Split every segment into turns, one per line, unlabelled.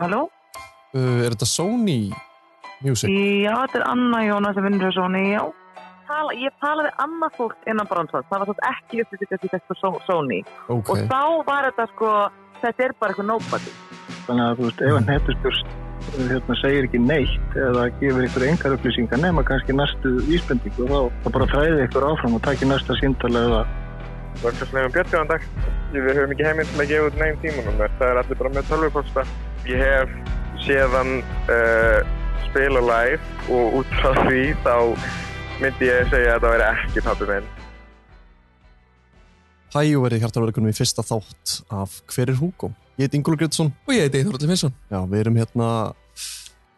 Halló?
Uh, er þetta Sony Music?
Já, þetta er Anna Jóna sem vinnur hjá Sony, já. Tala, ég talaði annað fólk innan Bronsons, það var svo ekki upplýsingast í þetta Só- Sony.
Mm.
Ok.
Og þá var þetta sko, þetta er bara eitthvað nobody.
Þannig að þú veist, ef að netustjórst hérna, segir ekki neitt eða gefur ykkur engar upplýsingar nema kannski næstu vísbendingu þá, þá bara þræði ykkur áfram og takki næsta síndala eða
Vörkastlegum Björnjóðandag. Við höfum ekki heiminn til að gefa út neginn tímanúmer. Það er allir bara með tölvupósta. Ég hef séðan uh, spila live og út frá því þá myndi ég segja að það væri ekki pappi minn.
Hæ og verið hjartarverkunum í fyrsta þátt af Hver er Hugo? Ég heiti Ingúl Gretsson.
Og ég heiti Þorvaldur Finnsson.
Já, við erum hérna,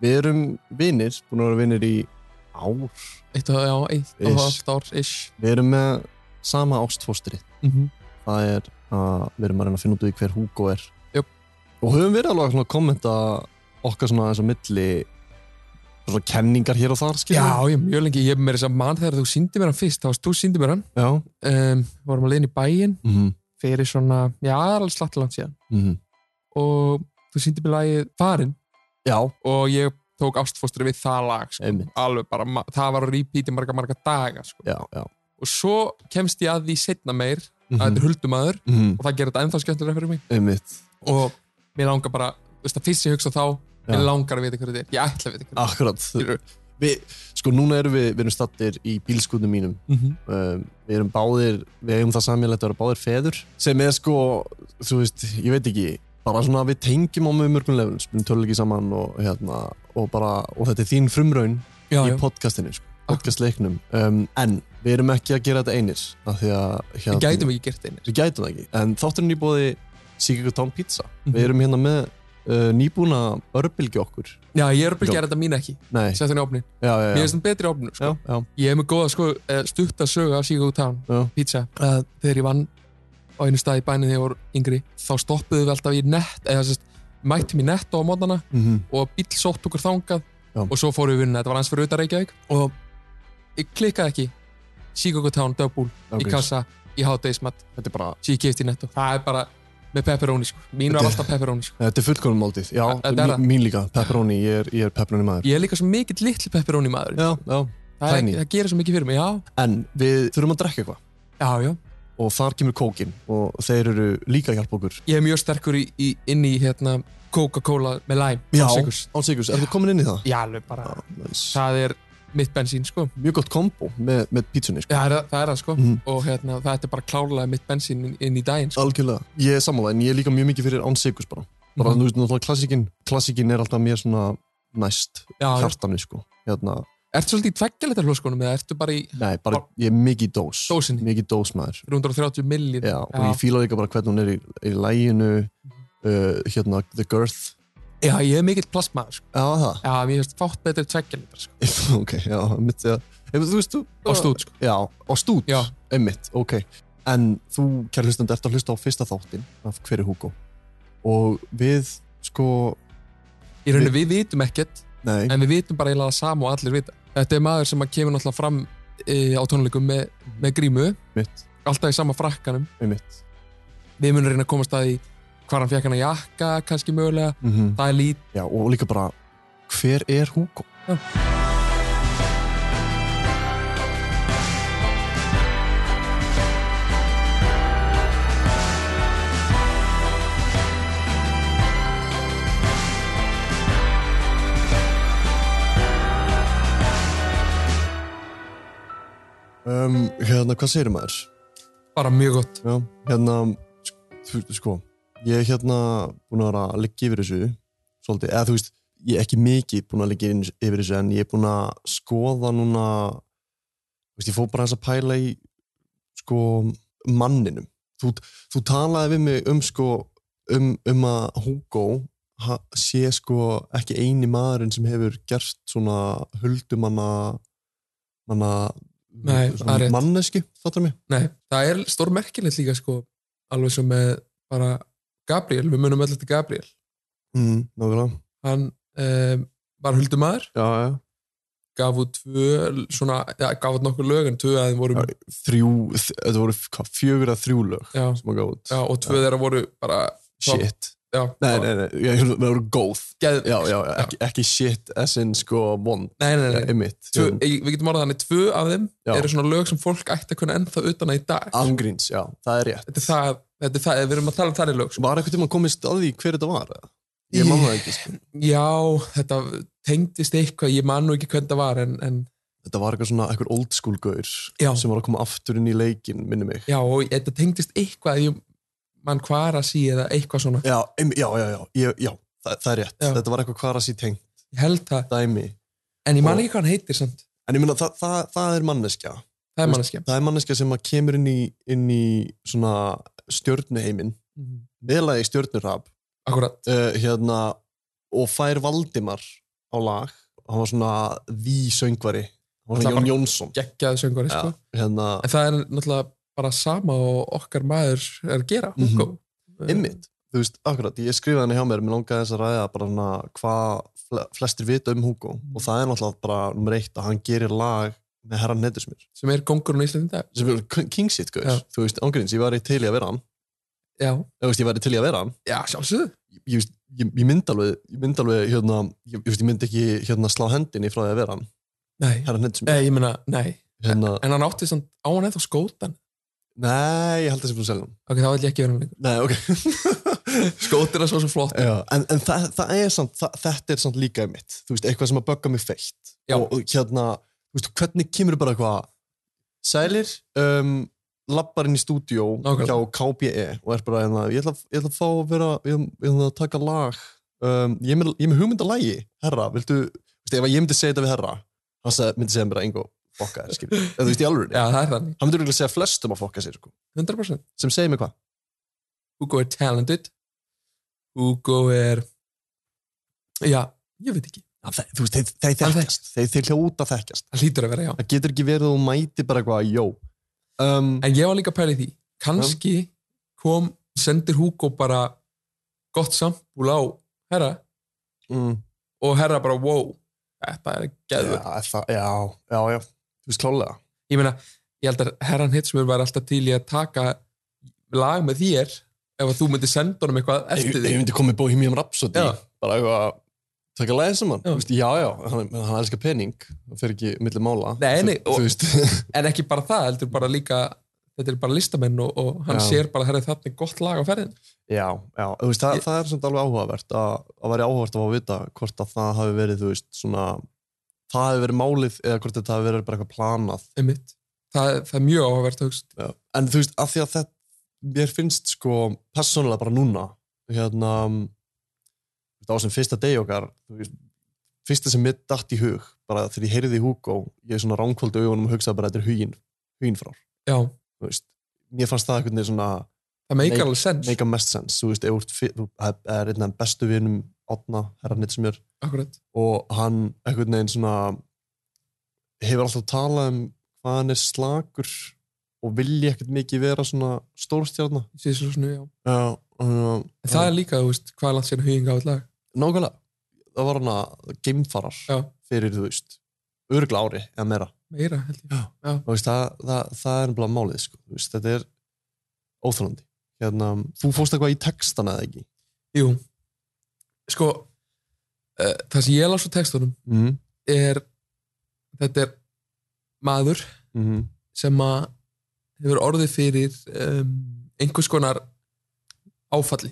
við erum vinnir, búin að vera vinnir í ár.
Eitt og, já, eitt og
Ish.
halvt ár, ish.
Við erum með sama ástfóstrið.
Mm
Það er að við erum að reyna að finna út úr því hver Hugo er.
Jöp.
Og höfum verið alveg svona að kommenta okkar svona aðeins á milli svona kenningar hér og þar,
Já,
skiljum.
ég mjög lengi, ég er meira þess að mann þegar þú síndi mér hann fyrst, þá varst þú síndi mér hann.
Já.
Um, varum að leiðin í bæinn
Mm -hmm.
fyrir svona, já, það er alveg slatt langt síðan.
Mhm.
Og þú síndi mér lagið Farin
Já,
og ég tók ástfóstri við það lag, sko.
einmitt.
Alveg bara, ma- það var að repeat í marga, marga daga, sko.
Já, já.
Og svo kemst ég að því setna meir
Mm
að þetta er Mhm. huldumæður
-hmm.
og það gerir þetta ennþá skemmtilega fyrir mig.
Einmitt.
Og mér langar bara, þú veist, það fyrst sem ég hugsa þá,
Já.
mér langar að vita hverju þetta er. Ég ætla að vita hverju
Akkurat.
þetta er.
Við, sko, núna erum við, við erum stattir í bílskutum mínum.
Mm -hmm.
um, við erum báðir við eigum það samjálegt að vera báðir feður sem er sko, þú veist, ég veit ekki bara svona að við tengjum á mjög mörgum lefnum spilum töluleiki saman og hérna og bara, og þetta er þín frumraun
Já,
í
já. Ah.
podcastinu, sko, podcastleiknum um, en við erum ekki að gera þetta einir af því að, hérna,
Við gætum ekki gert einir.
við gætum það ekki, en þátturinn í bóði Sigurður Tán Pizza,
Mhm.
við erum hérna með uh, nýbúna örbylgi okkur
Já, ég er
Jók.
að byrja þetta mín ekki.
nei, já,
Sett henni í opnin.
já,
Mér
já,
finnst hann betri í opninu,
já,
sko.
já.
Ég hef með góða, sko, eh, stutta sögu af Sigur Town
Já.
pizza. Uh, þegar ég vann á einu stað í bænum þegar ég voru yngri, þá stoppuðu við alltaf í nett, eða sérst, mættum í nett á mótana
Mm
og bíl sótt okkur þangað
Já.
og svo fórum við vinna. Þetta var hans fyrir utan Reykjavík og ég klikkaði ekki Sigur Town double í kassa í hátegismat
þetta er bara,
sem ég kefti í netto. Það er bara með pepperoni, sko. Mín var
Þetta-
alltaf pepperoni, sko.
Þetta er fullkomum máltíð, já,
Þetta er það.
mín, mín líka, pepperoni, ég er, ég er pepperoni maður.
Ég er líka svo mikill litli pepperoni sko. maður.
Já, já.
það,
tiny.
er, það gerir svo mikið fyrir mig, já.
En við þurfum að drekka eitthvað
Já, já.
og þar kemur kókin og þeir eru líka að hjálpa okkur.
Ég er mjög sterkur í, í, inn í hérna, Coca-Cola með lime. án sykurs.
Án Sigurs, er þú komin inn í það?
Já, alveg bara.
Nice.
Það er mitt bensín, sko.
Mjög gott kombo með, með pítsunni, sko.
Já, það er það, er það sko.
Mhm.
Og hérna, þetta er bara klárlega mitt bensín inn, inn í daginn, sko.
Algjörlega. Ég er sammála, en ég er líka mjög mikið fyrir án Sigurs bara. Bara,
Mhm.
þú veist, náttúrulega klassikin, klassikin er alltaf mér svona næst
Já,
hjartanu, sko. Hérna,
ertu svolítið í tveggjaletta hlóskonum eða ertu bara í
nei, bara,
Bara-
ég er mikið í dós.
Dósinni?
Mikið dós maður.
330 millir?
Já, og ég fíla líka bara hvernig hún er í, í læginu,
Mhm.
uh, hérna, The Girth.
Já, ég er mikill plastmaður, sko.
Já, það.
Já, mér finnst fátt betri tveggjaletta, sko.
ok, já, mitt, já. Ef, þú veist, þú...
Á stút, sko.
Já, á stút,
Já.
einmitt, ok. En þú, kæri hlustandi, ert að hlusta á fyrsta þáttin af hverju Hugo. Og við, sko,
Í rauninu, við vitum ekkert,
nei,
en við vitum bara eiginlega það sama og allir vita. Þetta er maður sem að kemur náttúrulega fram e, á tónleikum með, með grímu,
mitt,
alltaf í sama frakkanum,
einmitt.
við munum reyna að komast að því hvar hann fekk hann að jakka, kannski mögulega
Mm
það er lít,
Já, og líka bara, hver er Hugo?
Já.
Um, hérna, hvað segir maður?
bara mjög gott
Já, hérna, sko, sko ég er hérna búin að vera að liggja yfir þessu, svolítið, eða þú veist, ég er ekki mikið búin að liggja inn- yfir þessu en ég er búin að skoða núna, þú veist, ég fór bara eins að pæla í, sko, manninum. Þú, þú talaði við mig um, sko, um, um að Hugo ha, sé, sko, ekki eini maðurinn sem hefur gert svona huldumanna, manna,
Nei, það er rétt.
manneski, fattar mig?
Nei, það er stór merkilegt líka sko, alveg sem með bara Gabriel, við munum öll eftir Gabriel
Mm, nákvæmlega.
hann um, var huldumæður
Já, já.
gaf út tvö, svona ja, gaf út nokkur lög en tvö að þeim voru
Já. þrjú, þ- þetta voru hvað, fjögur að þrjú lög
já,
sem að gaf út
já, og tvö þeirra voru bara
shit,
já,
Nei, nei, nei, ég hefði verið góð
Geð,
Já, já, ekki, ekki shit as in sko vond,
Nei, nei, nei,
einmitt Um,
Tvö, ég, við getum orðað þannig, tvö af þeim
Já.
eru svona lög sem fólk ætti að kunna ennþá utan að í dag
Angríns, já, það er rétt
þetta er það, þetta er það, við erum að tala um þærri lög sko.
Var eitthvað tíma að komist að því hver þetta var? eða? Ég man það ekki, sko
já, þetta tengdist eitthvað ég man nú ekki hvernig það var en, en
Þetta var eitthvað svona, eitthvað old school gaur
Já.
sem var að koma aftur inn í leikin, minni mig
já, og þetta tengdist eitthvað ég man hvar að sí eða eitthvað svona
Já, einmi- já, já, já, ég, já það, það er rétt,
Já.
þetta var eitthvað hvar að sí tengt
ég held það,
dæmi
en ég man
Og-
ekki hvað hann heitir samt,
En ég meina, það, það, það er manneskja
það er manneskja
Það er manneskja sem að kemur inn í, inn í svona stjörnuheimin
Mhm.
meðlega í stjörnurhab
akkurat,
uh, hérna, og fær Valdimar á lag hann var svona því söngvari hann var
Það
svona
var-
Jón Jónsson
geggjaði söngvari
Já,
sko.
hérna,
en það er náttúrulega bara sama og okkar maður er að gera Sko.
Mhm.
Hugo.
ymmit þú veist, akkurat, ég skrifaði hann hjá mér mér langaði þess að ræða bara svona hvað fle- flestir vita um Hugo og það er náttúrulega bara nummer eitt að hann gerir lag með herran Nettusmir
sem er kongurinn í Íslandi í dag
sem er kingsitt,
Já.
guður, þú veist, ángríns ég væri til í að vera hann,
já,
þú veist, ég væri til í að vera hann
já sjálfsögðu
ég, ég, veist, ég, ég myndi alveg, ég myndi alveg hérna, ég, ég, veist, ég myndi ekki hérna, slá hendinni frá því að vera hann,
nei,
herra Nettsmith
nei, ég meina, nei
hérna,
en hann átti samt, á hann eða skótan
nei, ég held þessi búin að selja hann
ok, þá vil ég ekki vera hann lengur
nei, ok
skótin er svo svo flott
Já, en, en það, það er samt, það, þetta er samt líka mitt, þú veist, eitthvað sem að bögga mig feitt
Já.
og og hérna, þú veist, hvernig kemur bara eitthvað, sælir um, lappar inn í stúdíó
Nákvæmlega.
hjá KBE og er bara hérna, ég ætla, ég ætla að fá að vera ég ætla- ég ætla að taka lag um, ég er með- ég er með hugmynd að lægi, herra viltu, þú veist, ef ég myndi segja þetta við herra hann seg, myndi segja mér að engu fokka þér, skilur, eða þú veist, í alveg
já, það er þannig,
hann myndi örugglega segja flestum að fokka sér, sko,
100%
sem segir mig hvað
Hugo er talented Hugo er já, ég veit ekki
Þe- þú veist, þeir, þeir
Hann
þekkjast, þeir, þeir hljóta þekkjast
það hlýtur að vera, já
Það getur ekki verið að hún mæti bara eitthvað, jó. Um,
en ég var líka að pæla í því, kannski kom, sendir Hugo bara gott sambúl á herra
mm,
og herra bara, wow þetta er
já,
geðvöld
það, já, já, já, þú veist klálega.
ég meina, ég held að herran Hitsmur væri alltaf til í að taka lag með þér ef að þú myndir senda honum eitthvað
Ef
eftir
ef
því
ég myndi komið Bohemian Rhapsody,
Já.
bara eitthvað, taka læðið saman.
Já.
Já. Veist, já, já, hann, hann elskar pening, það fer ekki millir mála.
Nei, nei,
Þú,
og-
þú veist,
en ekki bara það, heldur bara líka þetta er bara listamenn og, og hann
Já.
sér bara herra þarna er gott lag á ferðin
já, já, þú veist, það,
Ég-
það er samt alveg áhugavert að, að vera áhugavert að fá að vita hvort að það hafi verið, þú veist, svona, það hafi verið málið eða hvort þetta hafi verið bara eitthvað planað
um það, það er mjög áhugavert að hugsa
Já. En þú veist, af því að þetta, mér finnst sko persónulega bara núna, hérna, þetta á sem fyrsta degi okkar, þú veist, fyrsta sem mitt datt í hug, bara þegar ég heyrði í Hugo, ég svona ránkvöldi augunum og hugsaði bara þetta er hugin, hugin frá,
já,
þú veist. Mér fannst það einhvern veginn svona,
það meikar
Meik-
alveg sens
make a mess sense, þú veist, ef þú ert fi- þú- það er einn af þeim bestu vinum Otna, herra nýtt sem er,
akkurat,
og hann einhvern veginn svona hefur alltaf talað um hvað hann er slakur og vilji ekkert mikið vera svona stórstjárna
í síðslusnu, já en
Já, uh,
það er líka, þú veist, hvað er langt sér huging á eitt lag
nákvæmlega það var hann að geimfarar
já,
fyrir þú veist örgla ári eða meira
meira, held ég
Þú veist, það, það, það er bara málið sko. Þú veist, þetta er óþálandi hérna, þú fórst eitthvað í textana eða ekki
jú, sko uh, það sem ég las á textunum
mm
er þetta er maður
-hmm.
mhm. sem að hefur orðið fyrir um, einhvers konar áfalli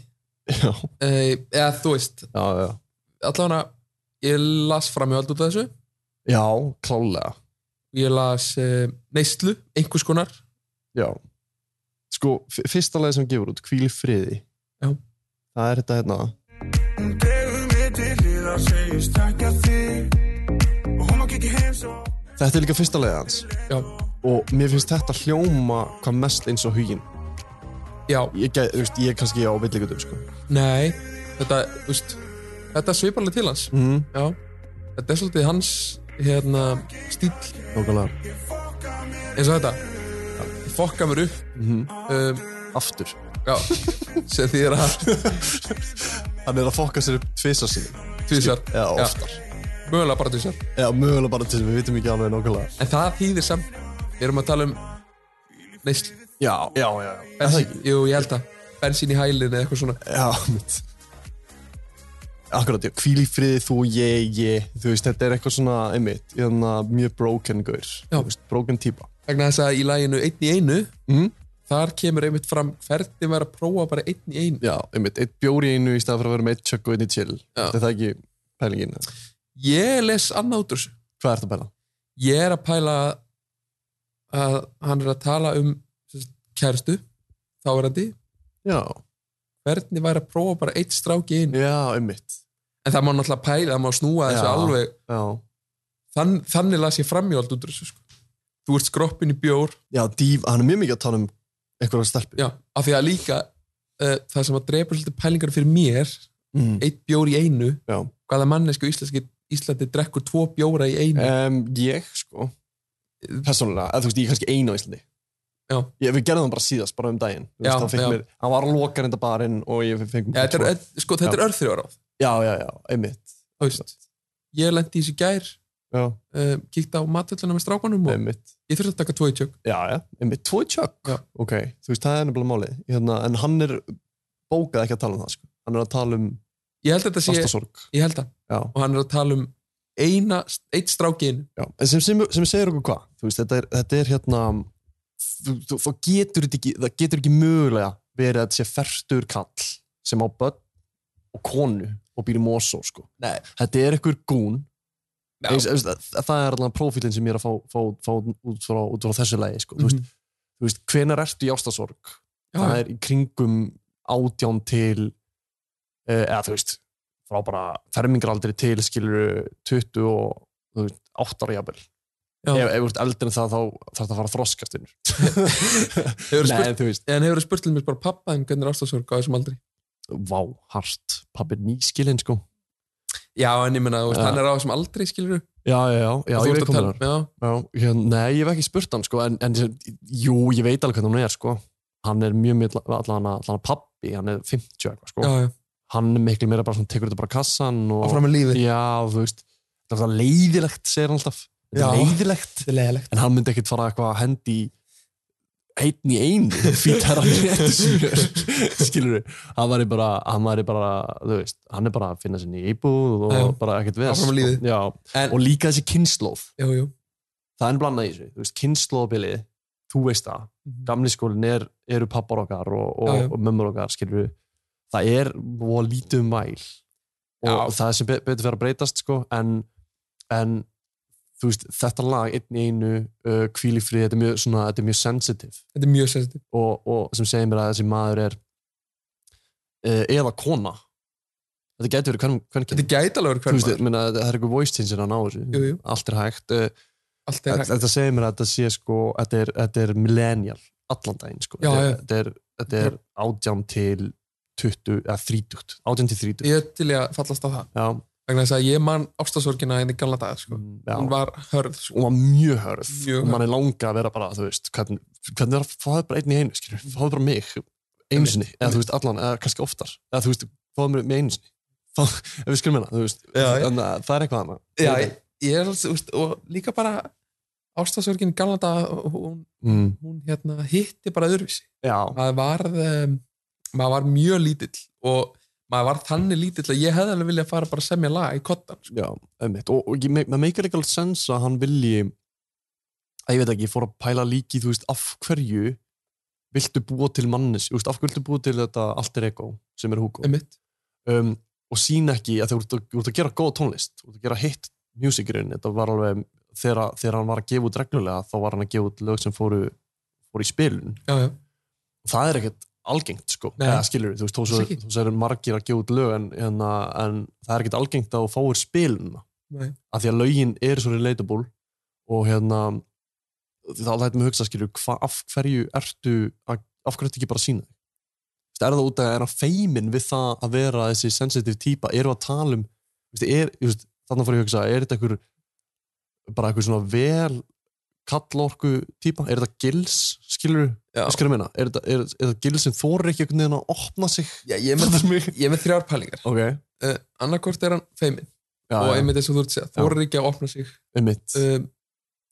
já,
Eh, eða þú veist,
já, já,
allavega ég las framhjöld út af þessu
já, klálega
ég las uh, neyslu, einhvers konar
já, sko f- fyrsta lagi sem gefur út, Hvíl í friði
Já.
það er þetta hérna
Hún dregur mig til hliðar, segist takk að þig Og hún má ekki heim svo
þetta er líka fyrsta lagi hans
já,
og mér finnst þetta hljóma hvað mest eins og hugin
já,
ég, gæ- þú veist, ég er kannski á villigutum sko.
nei þetta, þú veist þetta svipar alveg til hans
mm.
já, þetta er svolítið hans hérna, stíl
Nókulega.
eins og þetta Ég fokka mér upp um,
Aftur.
já, sem því er að
Hann er að fokka sér upp tvisa sinni.
tvisar,
Eða oftar.
mögulega bara tvisar
Eða mögulega bara til við vitum ekki alveg nákvæmlega.
en það þýðir samt, við erum að tala um neyslu
Já, já, já. já. Er það
Bensín,
ekki?
jú, ég held að bensín í hælinn eða eitthvað svona
Já, mitt. akkurat, hvíl í friði þú, ég, ég þú veist, þetta er eitthvað svona, einmitt hérna, mjög broken gaur,
Já.
þú veist, broken típa
vegna þess að í læginu einn í einu
Mhm.
þar kemur einmitt fram hvernig maður er að prófa bara einn í einu
já, einmitt, eitt bjór í einu í stað fyrir að vera með eitt chugg og einn í chill
Já.
þetta er það ekki pælingin eða?
ég les annað út úr þessu
hvað er þetta pæla?
ég er að pæla að hann er að tala um sem sagt, kærustu þáverandi,
já,
hvernig væri að prófa bara eitt strák í einu,
já, einmitt
en það má náttúrulega pæla það má snúa þessu
Já.
alveg
já,
Þann, þannig las ég framjóld út úr þessu sko. þú ert skroppin í bjór
já, díf, hann er mjög mikið að tala um einhverja stelpu
já, af því að líka uh, það sem að drepa svolítið pælingar fyrir mér
mm.
eitt bjór í einu
já,
hvaða mannesku íslenski Íslandi drekkur tvo bjóra í einu
um, ég, sko persónulega, eða þú veist, ég er kannski einu á Íslandi
Já.
ég, við gerðum það bara síðast, bara um daginn Þú
Já,
veist, hann,
já.
fekk mér, hann var að loka reynda barinn og ég fekk um
ja, þetta er, öð- sko, þetta er örþrjóráð
já, já, já, einmitt
Þú veist, ég lendi í þessu í gær
já,
uh, kíkti á matvölluna með strákanum og
einmitt,
ég þurfti að taka tvo í tjökk
já, já, einmitt tvoi tjökk,
Já.
ok, þú veist, það er nefnilega málið hérna, en hann er bókað ekki að tala um það, sko hann er að tala um
ég held að þetta sé,
vastasorg
ég held að
já,
og hann er að tala um eina, eitt strákin
já, en sem, sem, sem segir okkur hvað þú veist, þetta er, þetta er hérna þú, þú, þú getur þetta ekki, það getur ekki mögulega verið að þetta sé fertur kall sem á börn og konu og býr í Mosó, sko
Nei.
þetta er einhver gún
Já.
eins, eins, það það er allan profílinn sem ég er að fá, fá, fá út, frá, út frá þessu lagi sko. þú, veist,
Mhm.
þú veist, hvenar ertu í ástasorg
Já,
það
já.
er í kringum átján til eh, eða þú veist frá bara fermingaraldri til skilur 20 og þú veist, 8 ára jafnvel
Já.
ef, ef þú ert eldri en það þá þarf það að fara að þroskast innur Nei,
Hefurðu spurt-
en þú veist,
en hefur spurt til mér bara pappa en hvernig er ástafsorg á þessum aldri
vá, hart pappi er nýskilinn sko
já, en ég menna,
Já.
hann er á þessum aldri skilur
já, já, já, já ég veit komið þar
já,
Já, hér, nei, ég hef ekki spurt hann sko, en, en jú, ég veit alveg hvernig hún er sko. hann er mjög mjög allan að pappi, hann er 50 eitthvað sko.
já, já,
hann er miklu meira bara svona, tekur þetta bara á kassan og,
áfram með lífi
já, þú veist það er það leiðilegt, segir hann alltaf þetta
Já.
er leiðilegt,
þetta er leðilegt
en hann myndi ekkit fara eitthvað að hendi í- einn í einu fítar hann réttu smjör skilur við, hann væri bara, hann væri bara þú veist, hann er bara að finna sinni íbúð og
Já.
bara ekkert við
Áfram með lífið.
já,
en,
og líka þessi kynnslóð
já, já,
það er blandað í þessu, þú veist, kynnslóðabilið þú veist það, gamli skólin er, eru pappar okkar og, og,
Mhm. Já, já.
og mömmur okkar, skilur við það er og lítið um mæl og
Já.
það er sem be betur verið að breytast sko, en, en þú veist, þetta lag einn í einu uh, hvíl í frið, þetta er mjög, svona, þetta er mjög sensitive
þetta er mjög sensitiv
og, og sem segir mér að þessi maður er uh, eða kona þetta getur verið hvern, hvern
þetta gæti alveg verið
þú
hver
veist,
maður
minna, það er eitthvað voice change hann á þessu
Jú, jú.
allt er hægt uh,
allt er hægt
Þetta segir mér að þetta sé sko þetta er, þetta er millennial allan daginn sko.
Já,
þetta,
já.
er- þetta er, þetta er átján til 20, eða 30 átján til 30
ég er til í að fallast á það
já, Mm,
vegna þess að ég man ástafsorgina henni gamla dagar sko.
já.
hún var hörð sko.
og var mjög hörð
Mjög
og mann er langa að vera bara þú veist, hvernig, hvernig er að fá það bara einn í einu skilur,
Mm.
fá það bara mig einu sinni, eða þú veist allan, eða kannski oftar eða þú veist, fá það mig mig einu sinni fá, ef við skilum hérna, þú veist
Já, já.
en, uh, það er eitthvað hana
já, ég, ég er alls, úst, og líka bara ástafsorgina gamla dagar hún,
mm,
hún hérna, hitti bara öðruvísi
já,
maður var, um, maður var mjög lítill og maður var þannig lítill að ég hefði alveg viljað fara bara að semja lag í kottan sko.
Já, einmitt. Og, og ég- me- maður meikar ekki alveg sens að hann vilji að ég veit ekki, ég fór að pæla líki, þú veist, af hverju viltu búa til mannis, þú veist, af hverju viltu búa til þetta alter ego sem er Hugo
Einmitt.
um, og sína ekki að þú ert, að- þú ert að gera góð tónlist, þú ert að gera hitt musicurinn, þetta var alveg þegar, þegar hann var að gefa út reglulega, þá var hann að gefa út lög sem fóru, fóru í spilun
já, já, og
og það er ekkert algengt sko,
Nei.
eða skilur þú veist, þó
Alls
svo-
ekki.
þó svo eru margir að gefa út lög en, en, en það er ekkert algengt að þú fáir spilun
Nei.
af því að lögin er svo relatable og hérna þá lætum við hugsa skilur, hva, af hverju ertu að, af hverju ertu ekki bara að sína þig? Þú veist, er það út að er að feimin við það að vera þessi sensitive típa, eru að tala um þú veist, er, þú veist, þannig fór ég að hugsa er þetta einhver bara einhver svona vel kallorku típa, er þetta gils skilur,
Já.
skilur meina er þetta, er, er þetta gils sem þorir ekki einhvern veginn að opna sig
já, ég, er með, ég er með þrjár pælingar
ok,
uh, annarkort er hann feimin
já,
og
já,
einmitt eins og þú ert að segja, þú eru ekki að opna sig
einmitt uh,
um,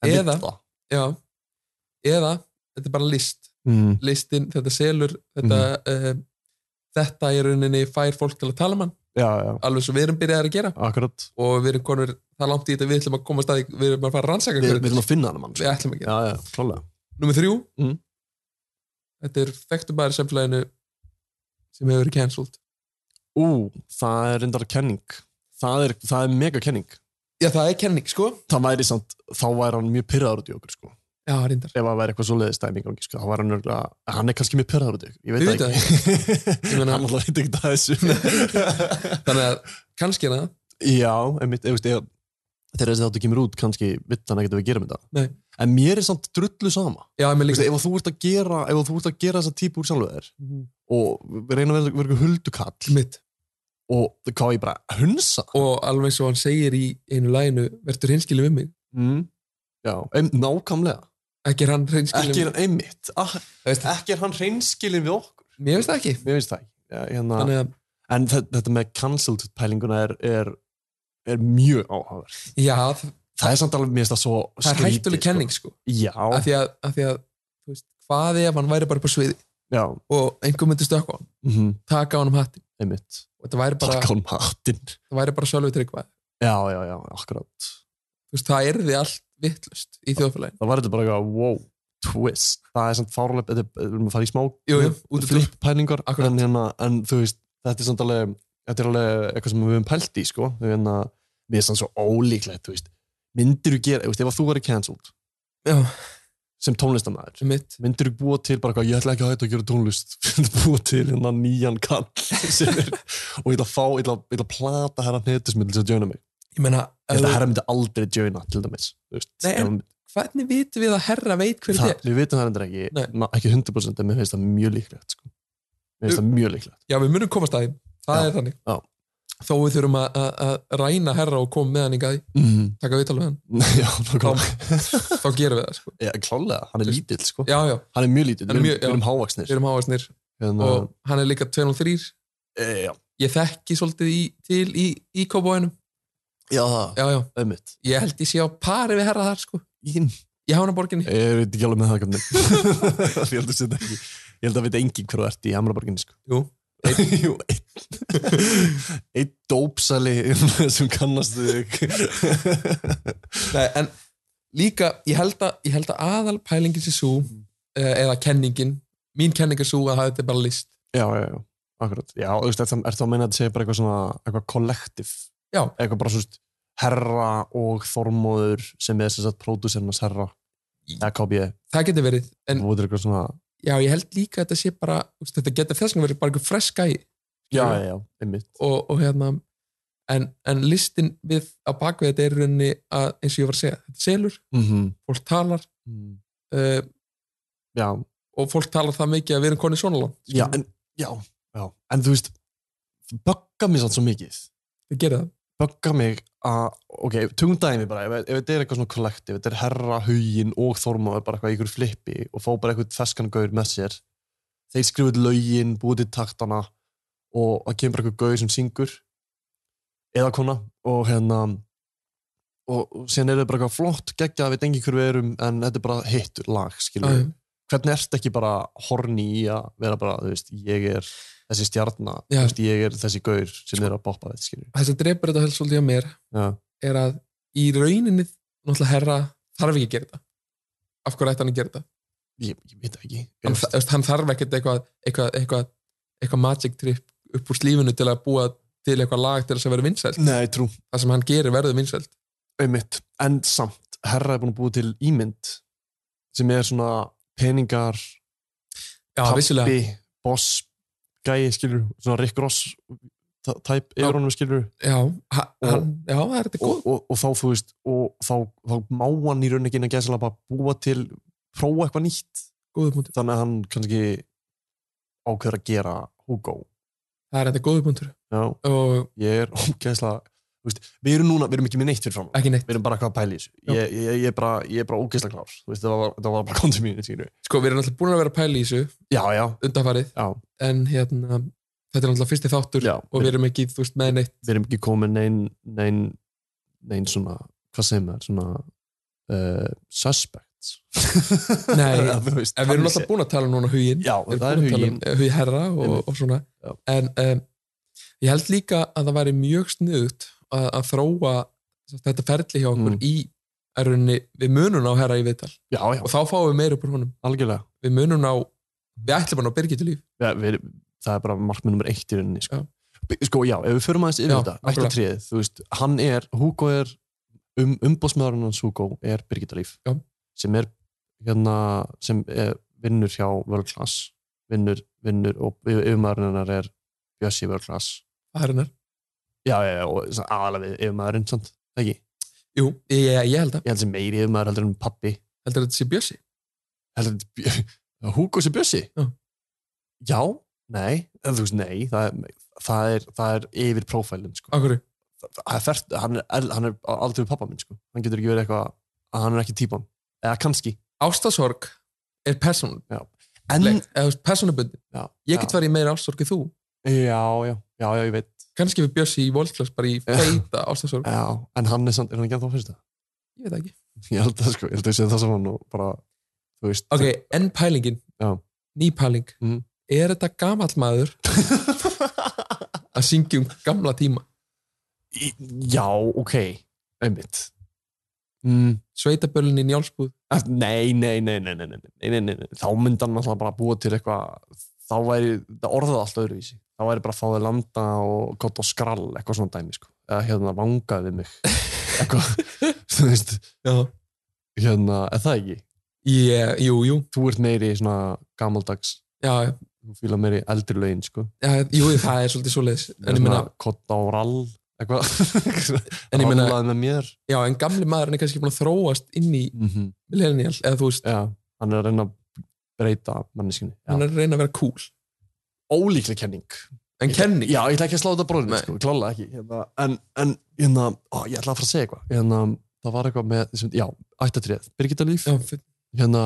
En vill
eða-
það.
já, eða þetta er bara list
mm,
Mhm. ehm, listin, þetta selur þetta, mm. þetta í rauninni fær fólk til að tala um hann
já, já,
alveg svo við erum byrjaðir að gera
akkurat
og við erum konur það langt í þetta við ætlum að koma staði, við erum að fara að rannsaka
Við,
hver
við erum að finna hann mann
við ætlum að gera.
Já, já, klálega
Númer þrjú
Mm.
Þetta er þekktum bara samfélaginu sem hefur verið cancelled
Ú, það er reyndar kenning Það er, það er mega kenning
Já, það er kenning, sko
Það væri samt, þá væri hann mjög pyrraður út í okkur sko.
Já, reyndar
Ef það væri eitthvað svoleiðis dæmi í gangi sko. þá væri hann, örugglega- hann er kannski mjög pyrraður út í okkur Ég
Ég
veit
veit
það ekki
Ég meina-
Hann alltaf veit ekki það þessu
Þannig að kannski er það
Já, einmitt, ég veist, ég, þegar þessi þáttu kemur út kannski vitt hann ekkert að við gerum þetta
Nei.
En mér er samt drullu sama
Já, mér
Þú veist,
líka
ef að þú ert að gera, ef að þú ert að gera þessa típu úr sjálfu þér
Mhm.
og reyna að vera, vera eitthvað huldukall
mitt
og hvað ég bara hunsa
Og alveg eins og hann segir í einu læginu Vertur hinskilið við mig
mm. Já, ein, nákvæmlega
Ekki er hann hinskilið
Ekki er hann einmitt ah,
veist,
Ekki er hann reynskilin við okkur
Mér veist það ekki
Mér finnst það ekki Já, hérna,
Þannig að,
En þe- þetta með cancelled pælinguna er, er, er mjög áhagverð
já, það,
Það er samt alveg, mér finnst það svo
það er
skrítið,
hættuleg
sko.
kenning, sko Af
Já,
því að, af því að þú veist, hvað ef hann væri bara upp á sviði
já,
og einhver myndi stökkva á hann,
mm
taka á hann um hattin
einmitt
og þetta væri bara,
Takk á matinn
það væri bara sjálfur tryggvað
Já, já, já, akkurat
þú veist, það erði allt vittlust í þjóðfélagin
Það var þetta bara eitthvað, wow, twist Það er samt fárlega, þetta er, við erum að fara í smá eh,
Jú, jú, út úr
flip pælingar
Akkurat.
en, hérna, en þú veist, þetta er samt alveg þetta er alveg eitthvað sem við höfum pælt í sko. Við hérna, við erum svo ólíklegt þú veist, myndir þú gera, þú veist, ef að þú verið cancelled
Já,
sem tónlistamæður
sem mitt
myndir þú búa til bara eitthvað, ég ætla ekki að hætta að gera tónlist búa til hérna nýjan kall sem er, og ég ætla að fá ég ætla, ég ætla að plata herra hnetusmiðl sem að joina mig
Ég meina, eh,
ég ætla að
ef-
herra myndi aldrei joina til dæmis þú veist,
Nei, en-
ef hann-
hvernig vitum við að herra veit hver
það,
þetta er?
við vitum það endur ekki,
Nei.
ma- ekki 100% en mér finnst það mjög líklegt sko. mér finnst það mjög líklegt
Já, við munum komast að því, það
Já,
er þannig
já.
Þó við þurfum að- að að ræna herra og koma með hann í gæði,
mm.
taka viðtal við hann
Já, nákvæmlega.
Þá gerum við það, sko
Já, klálega, hann er
Þú veist-
lítill sko.
Já, já,
Hann er mjög lítill,
Hann er
við
mjög-
erum- við erum
við
hávaksnir
erum hávarsnir
Hérna,
og hann er líka 203
e, já.
Ég þekki svolítið í, til í, í kóbóinum
já, það,
Já, já,
ömmit
ég held ég sé á pari við herra þar, sko
Ég
Ég hafa hann á borginni
Eh, veit ekki alveg með það hvernig Ég held að setja ekki Ég held að veit engin hver þú ert í Hamraborginni sko.
Jú.
Einn- Jú, einn Einn dópsali sem kannast við þig
Nei, en líka, ég held að, ég held að aðal pælingin sér svo
Mm.
eh, eða kenningin, mín kenning er svo að þetta er bara list
Já, já, já, akkurat Já, þú veist, er það að meina að þetta segja bara eitthvað svona eitthvað kollektiv
Já.
Eitthvað bara svona herra og þormóður sem er sem sagt pródúsernars herra eða KB,
það getur verið, en
þú veitir eitthvað svona
já, ég held líka að þetta sé bara, þú veist, þetta getur þess að verið bara einhver freska í
Já, já, já, einmitt
og, og hérna en, en listin við á bakvið þetta er í rauninni að, eins og ég var að segja, þetta selur
mm
fólk talar uh,
Já,
og fólk talar það mikið að við erum konið svona langt
já, en, já, já En þú veist, það böggar mig samt svo mikið
við gerum það,
Böggar mig að, ok, tungum dæmi bara Ef, ef þetta er eitthvað svona kollektiv, þetta er herra, hugin og þormóður bara eitthvað í ykkur flippi og fá bara eitthvað feskangaur með sér Þeir skrifuð lögin, búið til taktana og það kemur bara eitthvað gauð sem syngur eða kona og hérna og og síðan er þetta bara eitthvað flott geggja að við dengi hver við erum en þetta er bara hittur lag, skilur
já,
við
já.
hvernig ertu ekki bara horni í að vera bara, þú veist, ég er þessi stjarna,
Já.
þú
Sko-
veist, ég er þessi gaur sem er að boppa þetta, skilur
það sem drepur þetta helst svolítið á mér
já,
er að í rauninni náttúrulega herra þarf ekki að gera þetta af hverju ætti hann að gera þetta
ég, ég veit það ekki
hann, þa- þú veist, hann þarf ekkert eitthvað eitthvað, eitthvað, eitthvað magic trip upp úr slífinu til að búa til eitthvað lag til þess að vera vinsælt
Nei, trú,
það sem hann gerir verður vinsælt
auðvitað en samt, herra er búin að búa til ímynd sem er svona peningar,
já, vissulega,
boss gæi, skilur, svona Rick Ross ta- tæp
Já.
yfir honum, skilur
já, ha- hann, já, það er þetta
og,
góð
og, og þá, þú veist, og þá, þá má hann í raun ekki inn að gæsa bara búa til, prófa eitthvað nýtt
góðu punktur,
þannig að hann kannski ákveður að gera Hugo
það er þetta góðu punktur
já,
og
ég er ógeðslega þú veist, við erum núna, við erum ekki með neitt fyrir fram
ekki neitt
við erum bara eitthvað að pæla í þessu
Já.
ég, ég, ég, er bara, ég er bara ógeðslega klár þú veist, það, var, það var bara kontum mínu sínu.
sko, við erum alltaf búin að vera að pæla í þessu
já, já,
undanfarið,
já,
en hérna þetta er alltaf fyrsti þáttur
já
og við erum ekki, þú veist, með neitt
við erum ekki komin nein nein, nein svona, hvað segir maður svona uh, suspects
Nei,
þú veist,
en við
þannig
erum um alltaf búin að tala um- núna hugin
sé. já, það er hugin
hugi herra og,
Einmitt.
og svona
Já.
en um, Ég held líka að það væri mjög sniðut að, að þróa þetta ferli hjá okkur
Mm.
í erunni við munum á herra í viðtal
já, já,
og þá fáum við meira upp úr honum
algjörlega
við munum á, við ætlum hann á Birgitu líf
ja, við, það er bara markmið nummer eitt í rauninni sko.
Já.
B- sko já, ef við förum aðeins yfir
Já,
þetta
nákvæmlega.
ættatriðið, þú veist, hann er Hugo er, um, umbóðsmaðurinn hans Hugo er Birgitta Líf
Já.
sem er hérna sem er, vinnur hjá World Class vinnur, vinnur og yfir- yfirmaðurinn hennar er Bjössi World Class
það er hennar,
já, já, já, og aðalega við yfirmaðurinn sant, ekki,
jú, ég, ég, ég held að
ég held sem meiri yfirmaður heldur en pappi,
heldur að þetta sé Bjössi,
heldur en Bjö- Hugo sem Bjössi
Já.
já, nei, en þú veist, nei það er, það er, það er yfir prófælinn sko.
af hverju,
Það er fært, hann, er, el- hann er á aldur við pappa minn sko. hann getur ekki verið eitthvað að hann er ekki típan eða kannski
ástasorg er persónuleg,
en,
eða þú veist, persónubundi
já,
ég get
já,
farið í meira ástasorg en þú
já, já, já, já, ég veit
kannski við Bjössi í volklass bara í feita ástasorg,
já, en hann er, samt, er hann ekki að þá fyrsta
ég veit það ekki
ég held það sko, ég held að ég sé það saman og bara, þú veist
ok, en pælingin,
Já.
ný pæling
Mhm.
er þetta gamall maður að syngja um gamla tíma
Í- já, ok, einmitt mm.
sveitabölin í njálsbúð
að- nei, nei, nei, nei, nei, nei, nei, nei, nei, nei. þá myndi hann alltaf bara búa til eitthvað þá væri, það orðaði allt öðruvísi þá væri bara að fá þig landa og gott á skrall, eitthvað svona dæmi sko. eða hérna vangaði við mig eitthvað, þú veist
já,
hérna, er það ekki?
yeah, eh, jú, jú
Þú ert meiri svona gamaldags
já, já,
þú fíla meiri eldri lögin sko. Hérna,
já, jú, það er svolítið svoleiðis en ég meina,
kotta á rall eitthvað,
en ég meina
rallaði með mér
já, en gamli maðurinn er kannski búin að þróast inn í millennial, eða þú veist,
já, hann er að reyna að breyta manneskinni
hann er að reyna að vera cool
ólíkleg kenning
en kenning,
Já, ég ætla ekki að slá þetta bróðinu,
Nei.
sko, klálega ekki. Hérna, en, en, hérna, ó, ég ætla að fara að segja eitthvað. Hérna, það var eitthvað með, sem, já, ættatrið, Birgitta Líf,
já, fyrir,
hérna,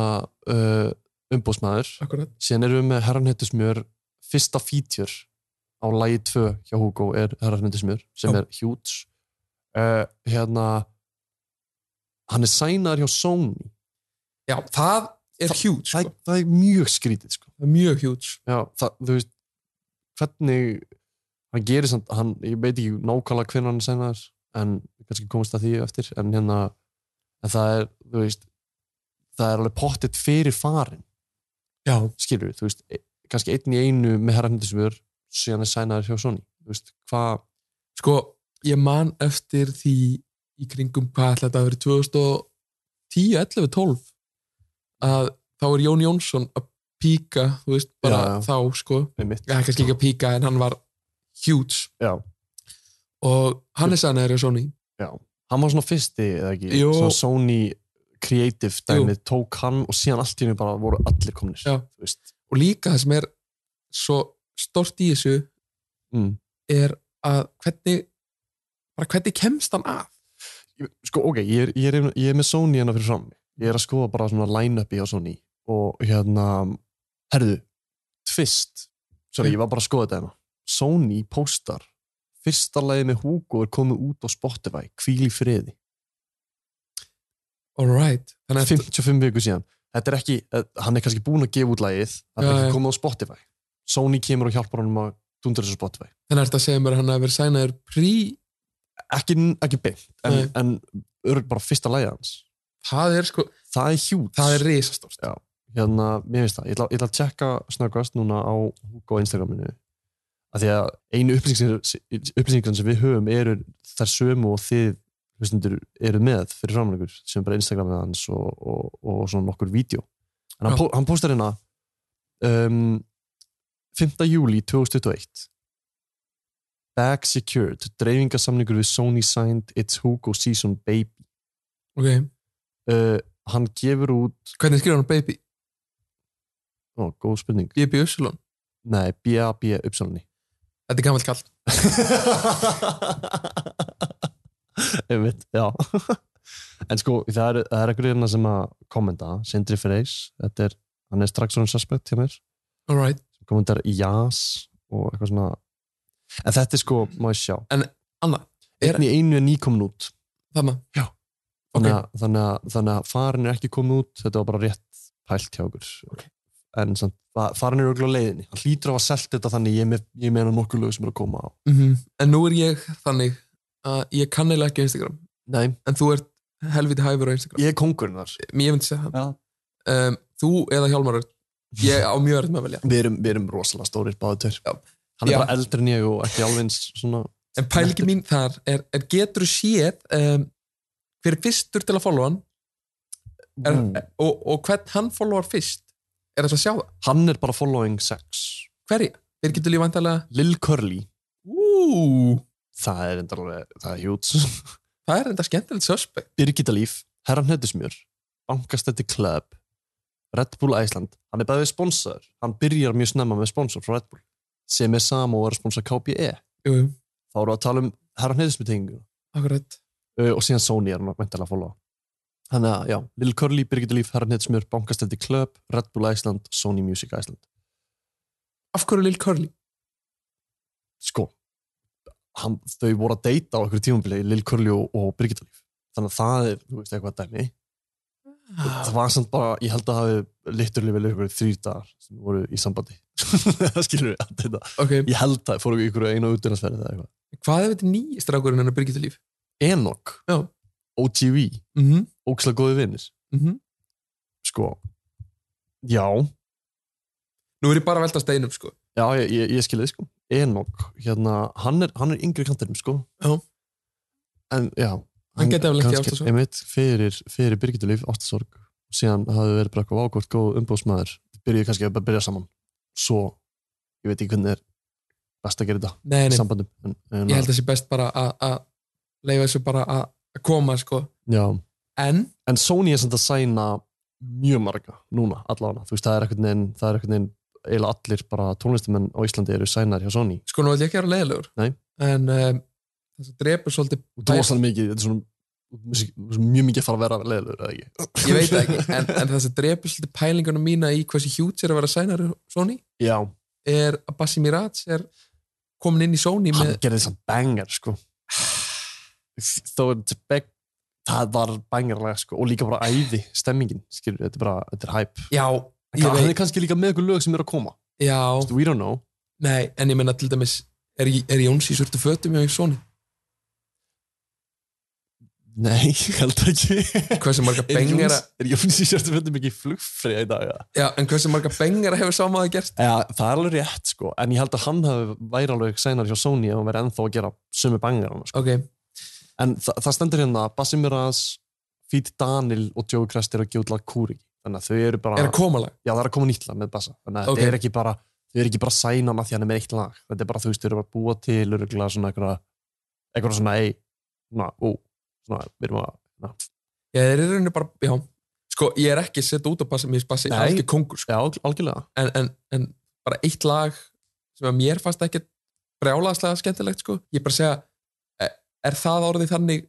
uh, umbóðsmaður.
akkurat
Síðan erum við með herranhettusmjör, fyrsta feature á lagi 2 hjá Hugo er herranhettusmjör, sem
Já.
er huge. Uh, hérna, hann er sænaður hjá Sony.
já, það er
Það-
huge, sko,
Það, það er mjög skrítið, sko.
það er mjög huge
Já, það, þú veist hvernig hann gerir samt, hann, ég veit ekki nákvæmlega hvernig hann segna þess, en kannski komast að því eftir, en hérna en það er, þú veist það er alveg pottet fyrir farin
já,
skilur við, þú veist, e- kannski einn í einu með herrafnir sem er, síðan er sænaður hjá Sony, þú veist, hvað
sko, ég man eftir því í kringum hvað ætla þetta að vera 2010, 11, 12 að þá er Jón Jónsson að píka, þú veist, bara
Já, já.
þá, sko,
er mitt,
já, kannski ekki að píka en hann var huge
já,
og hann er sænaður á Sony
já hann var svona fyrsti, eða ekki,
Jú.
svona Sony creative dæmið, tók hann og síðan allt í henni bara voru allir komnir
Já.
þú veist,
og líka það sem er svo stort í þessu
mm.
er að hvernig bara hvernig kemst hann af
sko ok, ég er, ég er, ég er með Sony hérna fyrir fram ég er að skoða bara svona line-upi á Sony og hérna herðu, Twist sorry, ég var bara að skoða þetta hérna Sony póstar fyrsta lagi með Hugo er komið út á Spotify hvíl í friði,
alright, þannig að
55 viku síðan þetta er ekki, eh, hann er kannski búin að gefa út lagið það er
Já,
ekki
já.
komið á Spotify Sony kemur og hjálpar honum að dundur þessu Spotify
þannig að þetta segja mér að hann hafi verið sænaður prí,
ekki, ekki beint, en,
Nei.
en örg bara fyrsta lagið hans
það er sko
það er hjút
það er risastort
Já. hérna, mér finnst það, ég ætla, ég ætla að tjekka snöggast núna á Hugo á Instagraminu af því að einu upplýsingar sem við höfum eru þær sömu og þið hlustundur eru með fyrir framleikur sem er bara Instagramið hans og, og, og svona nokkur vídeo en hann,
Já.
pó, hann póstar hérna um, 5. júli 2021 Bag Secured dreifingasamningur við Sony signed It's Hugo Season Baby
ok,
uh, hann gefur út,
hvernig skrifa hann baby,
ó, góð spurning
baby Upsilon
Nei, B-A-B-Y
þetta er gammalt kall,
Einmitt, já En sko, það er, það er einhverjir hérna sem að kommenta, Sindri Freys þetta er, hann er strax svona suspect hjá mér sem
alright
kommentar í jas og eitthvað svona En þetta er sko, má ég sjá
Anna, er-
Einn í einu er nýkomin út
þannig,
þannig, að, þannig, að, þannig að farin er ekki komin út þetta var bara rétt pælt hjá okkur en samt, það- farin er auðvitað leiðinni hann hlýtur að hafa selt þetta þannig ég, er með, ég meina nokkuð lög sem eru að koma á
en nú er ég þannig að ég kann eða ekki á Instagram
nei,
en þú ert helviti hæfur á Instagram
ég er kongurinn þar
ég myndi segja það
Já.
um, þú eða Hjálmar Örn, ég á mjög erfitt með að velja
við erum, við erum rosalega stórir báðutur
Já.
hann er
Já.
bara eldri en ég og ekki alveg eins svona
en pælingi mín þar er, er getur séð um, hver er fyrstur til að followa hann er,
Mm.
og, og hvern hann followar fyrst er þess að sjá það,
hann er bara following sex
hverja þeir getur líf vantalega
Lil Curly,
úúú,
það er enda alveg það er hjúts,
það er enda skemmtilegt suspect
Birgitta Líf Herran Hnettusmjör, Bankastætti Club Red Bull Æsland hann er bæðið sponsor, hann byrjar mjög snemma með sponsor frá Red Bull, sem er sama og er að sponsor KPE,
jú, jú,
E. þá eru að tala um Herran Hnettusmjör tengingu
akkurat
Uh, og síðan Sony er hann mæntalega að followa þannig að já, Lil Curly, Birgitta Líf, Herran Hnettusmjör Bankastætti Club, Red Bull Æsland Sony Music Æsland
af hverju Lil Curly,
sko hann, þau voru að deyta á einhverju tímabili Lil Curly og, og Birgitta Líf þannig að það er, þú veist, eitthvað dæmi
Ah.
það var samt bara, ég held að hafi liturlega vel ykkur þrýr dagar sem voru í sambandi skilur við allt þetta
ok,
ég held það, fóru ykkur einu útdurnarsferði eða eitthvað
hvað er þetta nýi strákurinn hennar Birgitta Líf
Enoch,
já,
OGV,
mhm, mhm
ókslega góði vinnir sko, já
nú er ég bara að velta steinum sko
já, ég, ég, ég skilði sko Enoch, hérna, hann er, hann er yngri kantinum sko
Já.
en já,
gæti hafa lent í
kannski-
ástarsorg.
einmitt, fyrir, fyrir Birgitulíf, ástasorg síðan hafði verið bara eitthvað ákvort góð umbóðsmaður, byrjuði kannski að bara byrja saman svo, ég veit ekki hvernig er best að gera þetta
nei, nei,
sambandum en, en,
ég held að það sé best bara að- að leifa þessu bara að að koma sko
já.
en
en Sony er samt að sæna mjög marga núna, allavega þú veist, það er eitthvað neginn, það er eitthvað neginn eiginlega allir bara tónlistamenn á Íslandi eru sænar hjá Sony
sko nú ætlum ég ekki að vera leiðilegur
Nei.
en um, þess að drepur svolítið
og þú varst alveg mikið, þetta er svona musik- mjög mikið að fara að vera leðilegur eða ekki
ég veit það ekki, en, en þess að drepur svolítið pælingunum mína í hversu hjút er að vera sænar Sony
já,
er að Bassi Mirats er komin inn í Sony
hann
með,
gerði þess að banger sko þó er þetta beg það var bangerlega sko og líka bara æði stemmingin, skilur, þetta er bara þetta er hæp,
já, ég
hann er
veit
kannski líka með eitthvað lög sem er að koma,
já,
we don't know
nei, en ég menna til dæmis er, er Jóns í svörtu fötum hjá Sony
nei, ég held ekki
hversu marga
er
bengara
Jóns, er Jóns í sérstu fjöndum ekki flugfri í dag, já
já, en hversu marga bengara hefur samaði gert
Já, það er alveg rétt sko, en ég held að hann hafi væri alveg sænar hjá Sony ef hann væri ennþá að gera sömu bangar hann sko.
ok,
En þa það stendur hérna að Bassi Miraz, Fít Danil og Joey Crest eru að gjóðla kúri. Þannig að þau eru bara,
er að koma lag
já það er að koma nýtt lag með Bassa. Þannig að
Ok.
þetta er ekki bara, þau eru ekki bara sænan að því hann er með eitt lag. Þetta er bara þú veist, þau eru bara að búa til, öruglega svona einhverja, einhverja svona, ei, svona, ú, svona, við erum að, hérna." na.
já, þeir eru í rauninni bara, já sko, ég er ekki að setja út á Bassi, mér finnst Bassi
Nei.
algjör kongur, sko
já, alg- algjörlega.
en, en, en bara eitt lag sem að mér fannst ekki brjálaðslega skemmtilegt sko, ég bara segja e- er það orðið þannig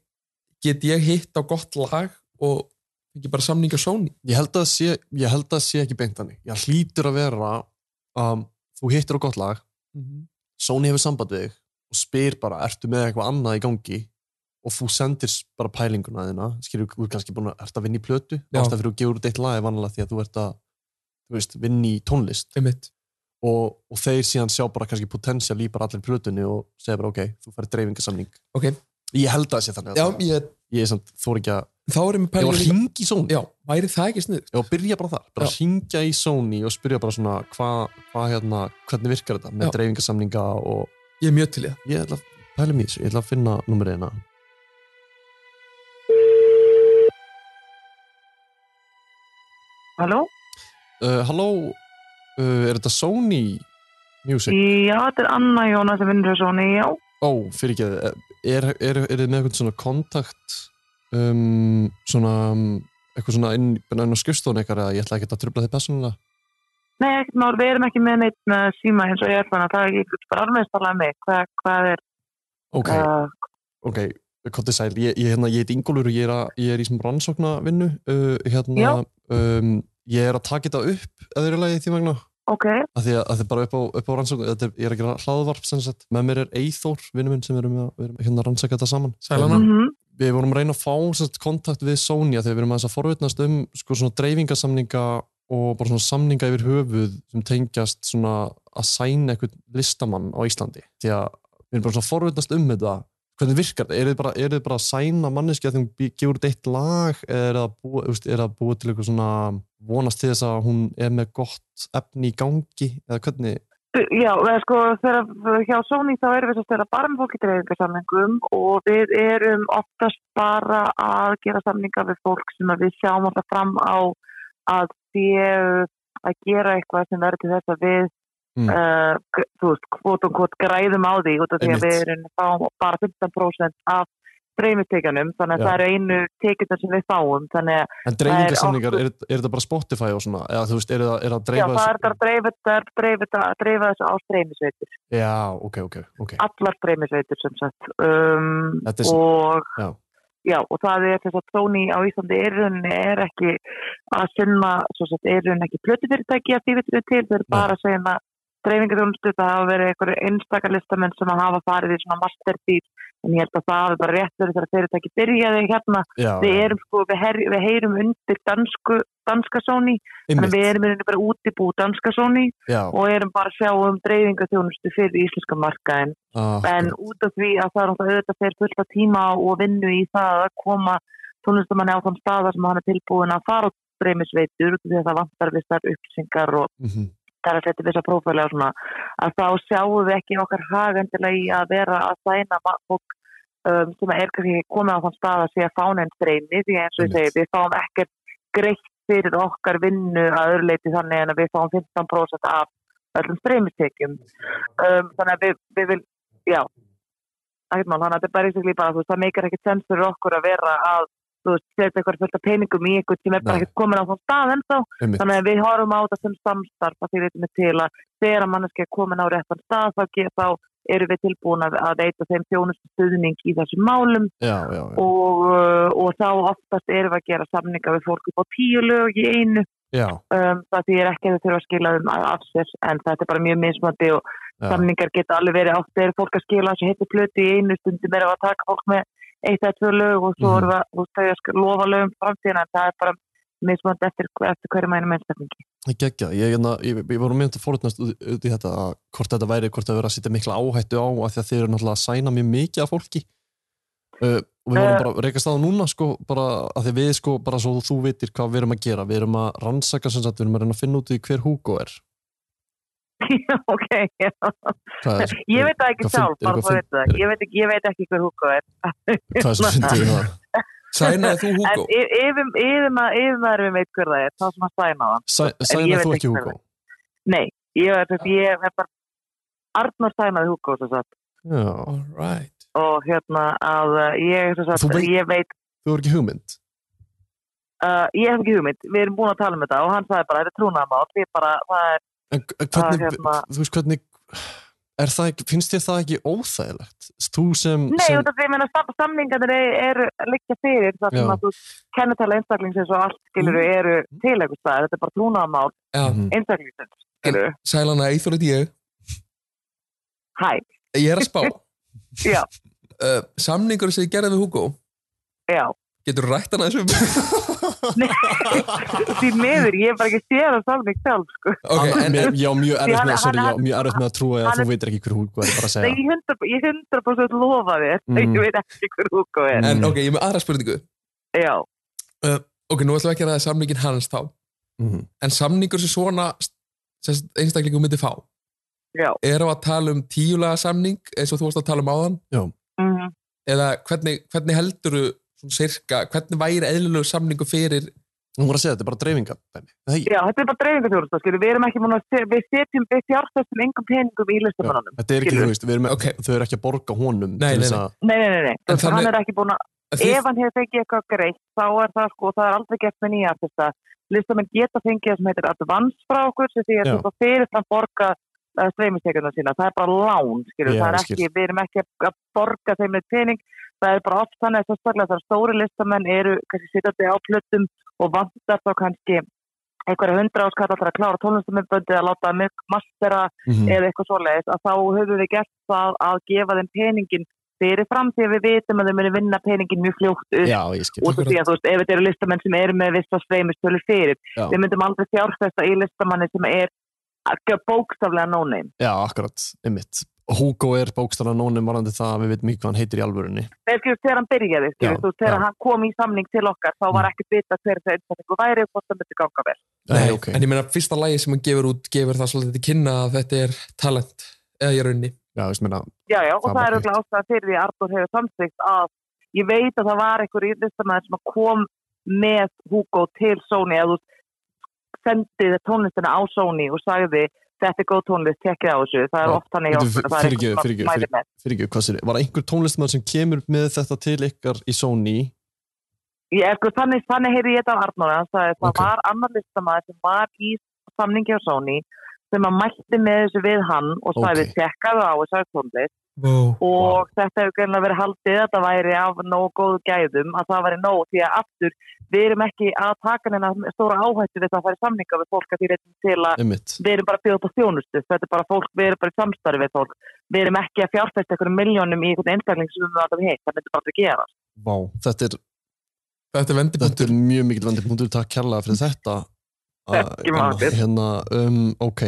get ég hitt á gott lag og ekki bara samninga Sony
Ég held að það sé, ég held að það sé ekki beint þannig. Ég hlýtur að vera, um, þú hittir á gott lag, Mhm. Sony hefur samband við þig og spyr bara, ertu með eitthvað annað í gangi og þú sendir bara pælinguna þína, skilur, þú er kannski búin að, ert að vinna í plötu,
Já.
ástæð fyrir að gefa út eitt lag er vanlega því að þú ert að, þú veist, vinna í tónlist
einmitt,
og, og þeir síðan sjá bara kannski potensial í bara allir plötunni og segja bara, ok, þú færi dreifingasamning.
Ok.
Ég held að það sé þannig
já,
að ég...
ég,
er samt, þór ekki að,
þá er ég með
ég var
pælingu
að
líka-
hringi í Sony,
já, væri það ekki sniðugt
ég var að byrja bara þar, bara
Já.
hringja í Sony og spyrja bara svona, hvað, hva, hérna, hvernig virkar þetta með
Já.
dreifingasamninga og
ég er mjög til í það,
Ég ætla að pæla mér í þessu, ég ætla að finna hérna. nummer eina.
Halló?
Uh, halló, uh, er þetta Sony Music?
Já, þetta er Anna Jónas sem vinnur hjá Sony, já.
Ó, fyrir ekki er, er, er þið með eitthvað svona kontakt, um, svona, um, eitthvað svona inn, inn á skrifstofun eitthvað eða ég ætla ekki að tröfla þið persónulega?
Nei, ekkert mál, við erum ekki með neitt með síma eins og ég er þannig að það er ekki bara alveg talað með Hva, hvað er,
Ok,
uh,
ok, kontið sæl, ég, ég, hérna, ég heit Ingólfur og ég er, að, ég er í sem rannsóknavinnu, uh, hérna,
Já.
um, ég er að taka þetta upp að þeirra lagi því vegna.
ok,
að því að, að þið bara upp á, upp á rannsókn þetta er, ég er að gera hlaðvarp sem sagt með mér er Eithór, vinnu minn sem við erum, að, við erum hérna að rannsaka þetta saman
Sælana.
mhm,
Um,
mm
við vorum að reyna að fá sem sagt, kontakt við Sony að því að við erum að þess að forvitnast um sko, svona dreifingasamninga og bara svona samninga yfir höfuð sem tengjast svona að sæna eitthvað listamann á Íslandi því að við erum bara svona að forvitnast um þetta hvernig virkar þetta, er þið bara, er þið bara að sæna manneskja þegar hún bý- gefur út eitt lag eða er það búa, þú veist, er það búa til eitthvað svona vonast til þess að hún er með gott efni í gangi eða hvernig,
Já, eða sko, þegar hjá Sony þá erum við svo störa bara með fólk í dreifingarsamlingum og við erum oftast bara að gera samlinga við fólk sem að við sjáum alltaf fram á að séu að gera eitthvað sem verður til þess að við
Mm.
mm. þú veist, kvot og kvot græðum á því út af því að
Einmitt.
við erum fáum bara 15% af dreifingartekjanum þannig að
Já.
það eru einu tekjurnar sem við fáum þannig að
en dreifingarsamningar er, er þetta bara Spotify og svona, eða þú veist, er það, er það að
já,
dreifa
það er bara að dreifa þetta- dreifa þetta- dreifa þessu á streymisveitur
Já, ok, ok, ok.
allar streymisveitur sem sagt um,
Þetta er-
og
já.
Já, og það er þess að Sony á Íslandi er í rauninni er ekki að sinna, svo sagt, er í rauninni ekki plötufyrirtæki að því vitinu til, þau eru
Nei.
bara að segja að dreifingaþjónustu, það hafa verið einhverju einstakalistamenn sem að hafa farið í svona masterbíl, en ég held að það hafi bara rétt verið þegar fyrirtæki byrjaði hérna
Já,
við erum sko, við, her, við heyrum undir dansku, danska Sony, en við erum í rauninni bara útibú danska Sony
já,
og erum bara að sjá um dreifingaþjónustu fyrir íslenska markaðin
ah,
en út af því að það er náttúrulega auðvitað fyrir fullta tíma og vinnu í það að koma tónlistamanni á þann staða sem hann er tilbúin að fara á streymisveitur út af því að það vantar vissar upplýsingar og
mhm,
það er að setja vissar prófæli og svona að þá sjáum við ekki okkar hagendilega í að vera að sæna ma- fólk um, sem er kannski ekki komið á þann stað að sé að fána einn streymi því eins og ég
Einmitt.
segi við fáum ekkert greitt fyrir okkar vinnu að öðruleiti þannig en að við fáum 15% af öllum streymistekjum um, þannig að við, við vil já, ekkert mál þannig að þetta er bara eins og lípa að það meikar ekkert sens fyrir okkur að vera að þú veist, setja eitthvað fullt af peningum í eitthvað sem er bara
Nei.
ekkert komin á þann stað ennþá
einmitt,
Þannig að við horfum á þetta sem samstarf að því veitum við til að þegar manneski er komin á réttan stað þá, ge- þá eru við tilbúin að, að veita þeim þjónustu stuðning í þessum málum
já, já, já,
og, uh, og þá oftast erum við að gera samninga við fólk upp á tíu lög í einu
já,
um, það því er ekki að þau þurfa að skila þeim af- af sér en þetta er bara mjög mismandi og
já,
samningar geta alveg verið oft er fólk að skila þessu heitti plötu í einu stundum er að taka fólk með eitt eða tvö lög og svo
Mhm.
erum við að þú veist, þau að sk- lofa lögum framtíðina en það er bara mismandi eftir, eftir hverju mænum einstaklingi.
það geggja, ég, hérna, ég, ég voru mynd að forutnast út út í þetta að hvort þetta væri, hvort það verið að setja mikla áhættu á af því að þeir eru náttúrulega að sæna mjög mikið af fólki uh, og við vorum
Eh.
bara að reyka staða núna sko, bara að því að við sko, bara svo þú vitir hvað við erum að gera, við erum að rannsaka sem sagt, við erum að reyna að finna út í hver Hugo er
Já, ok, já.
hvað er,
Ég veit það ekki
Hvað
sjálf,
fyndi-
bara
hvað
þú veit það.
fyndi-
Ég veit ekki, ég veit ekki hver húka er.
hvað er svo fyndið við það
Sænaði þú
En um,
Hugo?
yfir, yfir, yfir, yfir maður veit hver það er, þá sem að sæna það.
Sæ,
ég
sæna
veit
þú
ekki
ekki
hver
Hugo
Nei, ég veit þess, ég er bara, Arnur sænaði húka og svo satt.
já,
All right.
Og hérna að uh, ég, svo
Þú
satt,
veit-
ég veit,
þú er ekki hugmynd
uh, ég hef ekki hugmynd, við erum búin að tala um þetta og hann sagði bara, þetta er trúnaðamál, ég bara, það er,
En g- hvernig,
hérna-
þú veist hvernig, er það ekki, finnst þér það ekki óþægilegt? Þú sem,
nei,
sem
út af því, ég meina, sam- samningarnir e-, eru er, liggja fyrir, það
Já. Mm.
sem að þú kennetala einstaklingsins og allt, skilur, eru til eitthvað staðar, þetta er bara trúnaðamál
Já,
Mhm.
einstaklingsins, skilur,
sælana, ég þorði ég.
hæ,
Ég er að spá.
Já.
Uh, samningur sem ég gerði við Hugo,
já.
getur rætt hann aðeins um?
því miður, ég er bara ekki séð að samning sjálf, sko.
ok,
Anna-
en,
mér- ég á mjög erfitt
hann-
með, sorry,
hann-
ég á mjög erfitt með að trúa að
hann-
þú veitir ekki hver húku er bara að
Nei,
segja.
ég hundra, ég hundra prosent lofa þér,
Mm.
ég veit ekki hver Hugo er.
en ok, ég er með aðra spurningu.
Já,
Ok, nú ætlum við ekki að ræða samningin hans þá.
Mhm.
En samningur sem svona sem sagt, einstaklingum myndi fá,
já.
er á að tala um tíulega samning, eins og þú varst að tala um áðan,
Mm.
eða hvernig, hvernig helduru svona sirka, hvernig væri eðlilegu samningu fyrir
Hún var að segja, þetta er bara dreifinga. Það ekki,
Já, þetta er bara dreifingarþjóðursta, skilur, við erum ekki múin að, se- við setjum, við fjárfæstum engum peningum í listamannunum.
þetta er ekki,
Skilur.
þú veist, við erum,
Ok.
þau eru ekki að borga honum
Nei,
til
nei,
þess
nei.
að,
Nei, nei, nei, nei,
En
þannig... hann
þannig-
er ekki búin að,
þið-
ef hann hefur fengið eitthvað greitt, þá er það sko, það er aldrei gert með nýja artista. Listamenn geta fengið það sem heitir advance frá okkur, sem því að
Já.
þú þá fyrirfram borga uh, streymistekjuna sína, það er bara lán, skilur,
Já,
það er
skil.
ekki, við erum ekki að- að borga þeim með pening, það er bara oft þannig að sérstaklega þar stóri listamenn eru kannski sittandi á plötum og vantar þá kannski einhverja hundra áskall alltaf að klára tónlistamennböndi að láta mig mastera
Mhm.
eða eitthvað svoleiðis að þá höfum við gert það að gefa þeim peningin fyrirfram því að við vitum að þau muni vinna peningin mjög fljótt upp
já, ég skil
út af því að þú veist, ef þetta eru listamenn sem eru með vissar sveimistölur fyrir,
Já.
við myndum aldrei fjárfesta í listamanni sem er að gera bókstaflega no-name.
já, akkurat, einmitt Hugo er bókstara nónum varandi það að við veitum ekki hvað hann heitir í alvörunni
Þegar skilur, þegar hann byrjaði, skilur,
Já,
þú veist, þegar
já. Mm.
hann kom í samning til okkar, þá var ekkert vita hver þessi einstaklingu væri og hvort það myndi ganga vel.
Nei,
Nei, ok.
En ég meina, fyrsta lagi sem hann gefur út gefur það svolítið til kynna að þetta er talent eða ég raunni.
já, ég meina,
Já, já, og
Það
það,
var
er
hitt.
auðvitað ástæðan fyrir því að Artur hefur samþygt að ég veit að það var einhver í listamæður sem að kom með Hugo til Sony eða þú sendið tónlistina á Sony og sagði þetta er góð tónlist, tekkið á þessu það er
Já,
oft hann í
veitu,
okkur að það er einhver sem
fyrirgefðu, fyrirgefðu,
mælir með.
fyrir ekki, hvað sér var einhver tónlistmann sem kemur með þetta til ykkar í Sony
Ég, ekkur, þannig, þannig heyri ég þetta af Arnóra hann sagði að
Ok.
það var annar listamæður sem var í samningi á Sony sem að mælti með þessu við hann og sagði
Ok.
okay. tekkaðu á þessu tónlist
Wow.
og þetta hefur greinlega verið haldið að þetta væri af nógu góðu gæðum að það væri nóg því að aftur við erum ekki að taka neina stóra áhættu við það að fara í samninga við fólk að því reyndum til að
einmitt,
við erum bara að bjóða upp á þjónustu þetta er bara fólk, við erum bara í samstarfi við fólk við erum ekki að fjárfesta einhverjum miljónum í einhvern einstakling sem við erum alltaf heitt, það myndir bara að gera
vá, þetta er,
Þetta er
þetta
vendipunktur.
er mjög mikil vandi punktur, takk kærlega fyrir þetta
Ekki
Að-
mál, Björn.
hérna, um, ok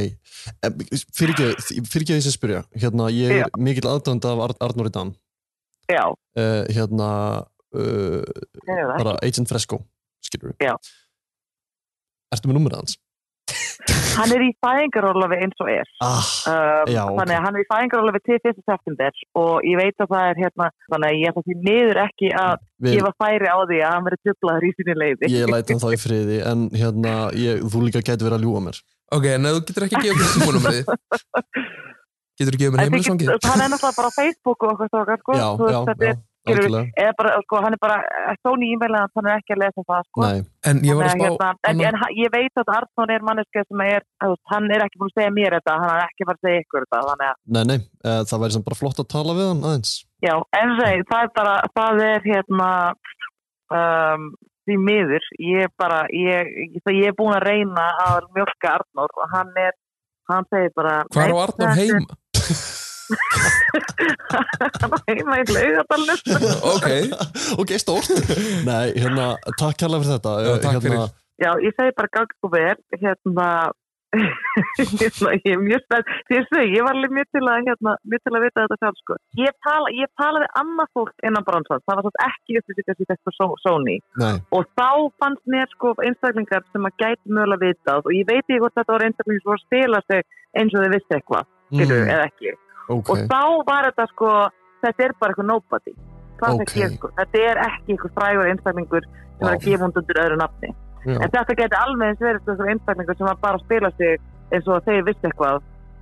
fyrir ekki, fyrir ekki að ég sem spyrja hérna, ég er
Já.
mikil aðdönd af Ar Arnóri Dan
já,
uh, hérna uh,
það er það
bara Agent Fresco, skilur
Já.
Ertu með numrið hans?
hann er í fæðingarólafi eins og er
Ah,
um,
Já, ok.
þannig að hann er í fæðingarólafi til 1. september og ég veit að það er hérna, þannig að ég ætla því niður ekki að
við,
gefa færi á því að hann verið dublaður í sinni leiði.
ég læt hann þá í friði en hérna, ég, þú líka gæti verið að ljúa mér
Ok, en ef þú getur ekki gefið mér símónumrið. Getur þú gefið mér
En þið
heimilisvangið?
get- Hann er náttúrulega bara á Facebook og eitthvað stókar, sko.
Já,
Þú
já,
veist, þetta
já,
er- skilur við-
algjörlega
Eða bara, sko, hann er bara stóni e-mailið hans, hann er ekki að lesa það, sko.
Nei,
En ég var að
Þannig
spá...
að, hérna, en,
annað-
en hann- ég veit að Arnón er manneska sem er, þú veist, hann er ekki búin að segja mér þetta, hann er ekki bara að segja ykkur þetta, þannig að,
nei, nei eh, það væri sem bara flott að tala við hann aðeins
já, en rey, það er bara, það er, hérna, um, því miður, ég er bara, ég, ég, ég er búin að reyna að mjölka Arnór og hann er, hann segir bara,
Hvar á
"Nei,
Arnór
þetta er-
heima?
hann var heima í laugadalnum
Ok,
Ok, stórt Nei, hérna, takk kærlega fyrir þetta
Já,
Eh,
takk
hérna,
fyrir.
já, ég segi bara gangi og verð hérna hérna, ég er mjög spennt því að segja, ég var alveg mjög til að hérna, mjög til að vita þetta sjálf sko ég, tala, ég talaði annað fólk innan bransans það var svo ekki upplýsingast í þessu Sony
Nei,
og þá fannst mér sko einstaklingar sem að gæti mögulega vitað og ég veit ekki hvort þetta var einstaklingar sem voru að spila sig eins og þau vissi eitthvað, skilur,
mm,
eða ekki
ok
og þá var þetta sko þetta er bara eitthvað nobody það
Ok.
okay. ekki, sko. þetta er ekki eitthvað frægur einstaklingur sem er
Já.
að gefa hún undir öðru nafni
Já.
en þetta geti alveg eins verið eitthvað einstaklingur sem var bara að spila sig eins og þeir vissi eitthvað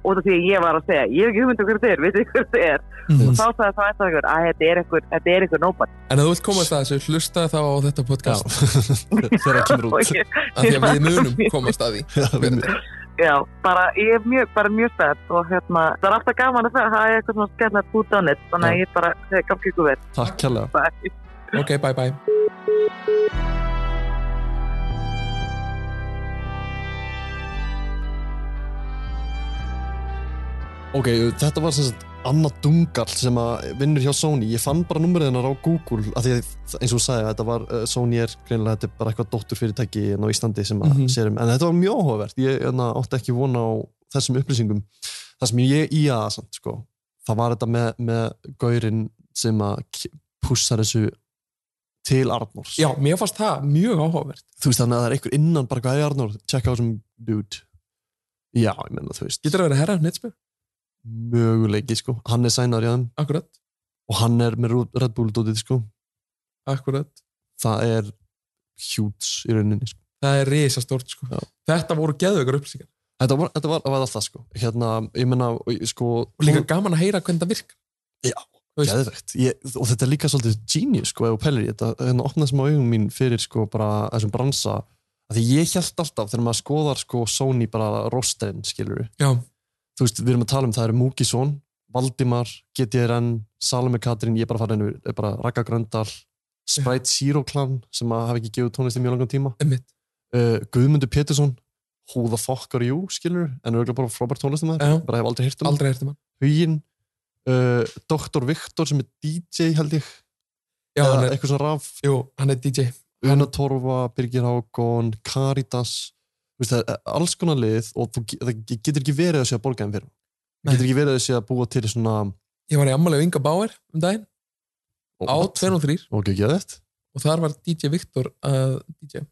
út af því að ég var að segja ég hef ekki hugmyndu hver þetta er, veit ekki hver þetta er
Mhm.
Mm.
og þá sagði það einstaklingur að þetta er eitthvað, þetta er eitthvað nobody
en ef þú vilt komast að þessu, hlusta þá á þetta
Já,
podcast
þegar það kemur
Og
út
ég-
af því að við munum komast að því.
Já, við-
já, bara, ég er mjög, bara mjög spennt og hérna, það er alltaf gaman að það það er eitthvað svona skemmtilegt út á nett þannig að
Já.
ég bara, gaf ekki verð
Takk kærlega
það er
Ok, bye bye.
Ok, þetta var sem sagt Anna Dungal sem að vinnur hjá Sony ég fann bara numrið hennar á Google af því að eins og þú sagði þetta var eh, Sony er greinilega þetta er bara eitthvað dótturfyrirtæki en á Íslandi sem að
Mhm.
sérum en þetta var mjög áhugavert ég hérna, átti ekki vona á þessum upplýsingum það sem ég í aða samt sko það var þetta með, með gaurinn sem að k- pússar þessu til Arnors
Já, mér fannst það mjög áhugavert.
þú veist þannig að það er einhver innan bara hvað er Arnór, tjekka á þessum dude já, ég menna þú veist
Getur það verið herra, netspil?
möguleiki sko, hann er sænar í aðeim
Akkurat,
og hann er með Ru- Red Bull dótið sko,
akkurat.
það er hjúts í rauninni sko.
Það er risastórt, sko.
Já.
Þetta voru geðveikar upplýsingar.
þetta var, þetta var, var alltaf sko hérna, ég menna, og ég- sko
Og líka gaman að heyra hvernig það virka. þú veist-
geðvegt, ég, og þetta er líka svolítið genius sko, ef þú pellir í þetta, hérna opnaði smá augum mín fyrir sko bara þessum bransa að því ég held alltaf þegar maður skoðar sko Sony bara rosterinn skilur
Já.
þú veist, við erum að tala um það eru Múkisson, Valdimar, GTRN, Salome Katrin, ég er bara farin yfir, er bara Raka Gröndal, Sprite Zero Clan sem að hafa ekki gefið út tónlist í mjög langan tíma,
Einmitt.
uh, Guðmundur Pétursson, Who the fuck are you, skilur, en auðvitað bara frábært tónlistum
Já.
bara hef aldrei hýrt um,
Aldrei heyrtum hann.
Hugin, uh, Dr. Viktor sem er DJ held ég
já,
eða
hann er,
eitthvað svona raf
jú, hann er DJ
Una Torfa, Birgir Hákon, Caritas þú veist, það er alls konar lið og þú, ge- það getur ekki verið að sé að borga þeim fyrir það
Nei.
getur ekki verið að sé að búa til svona
ég var í ammali á Inga Bauer um daginn á
What?
203
ok, geðvægt,
og þar var DJ Viktor að DJ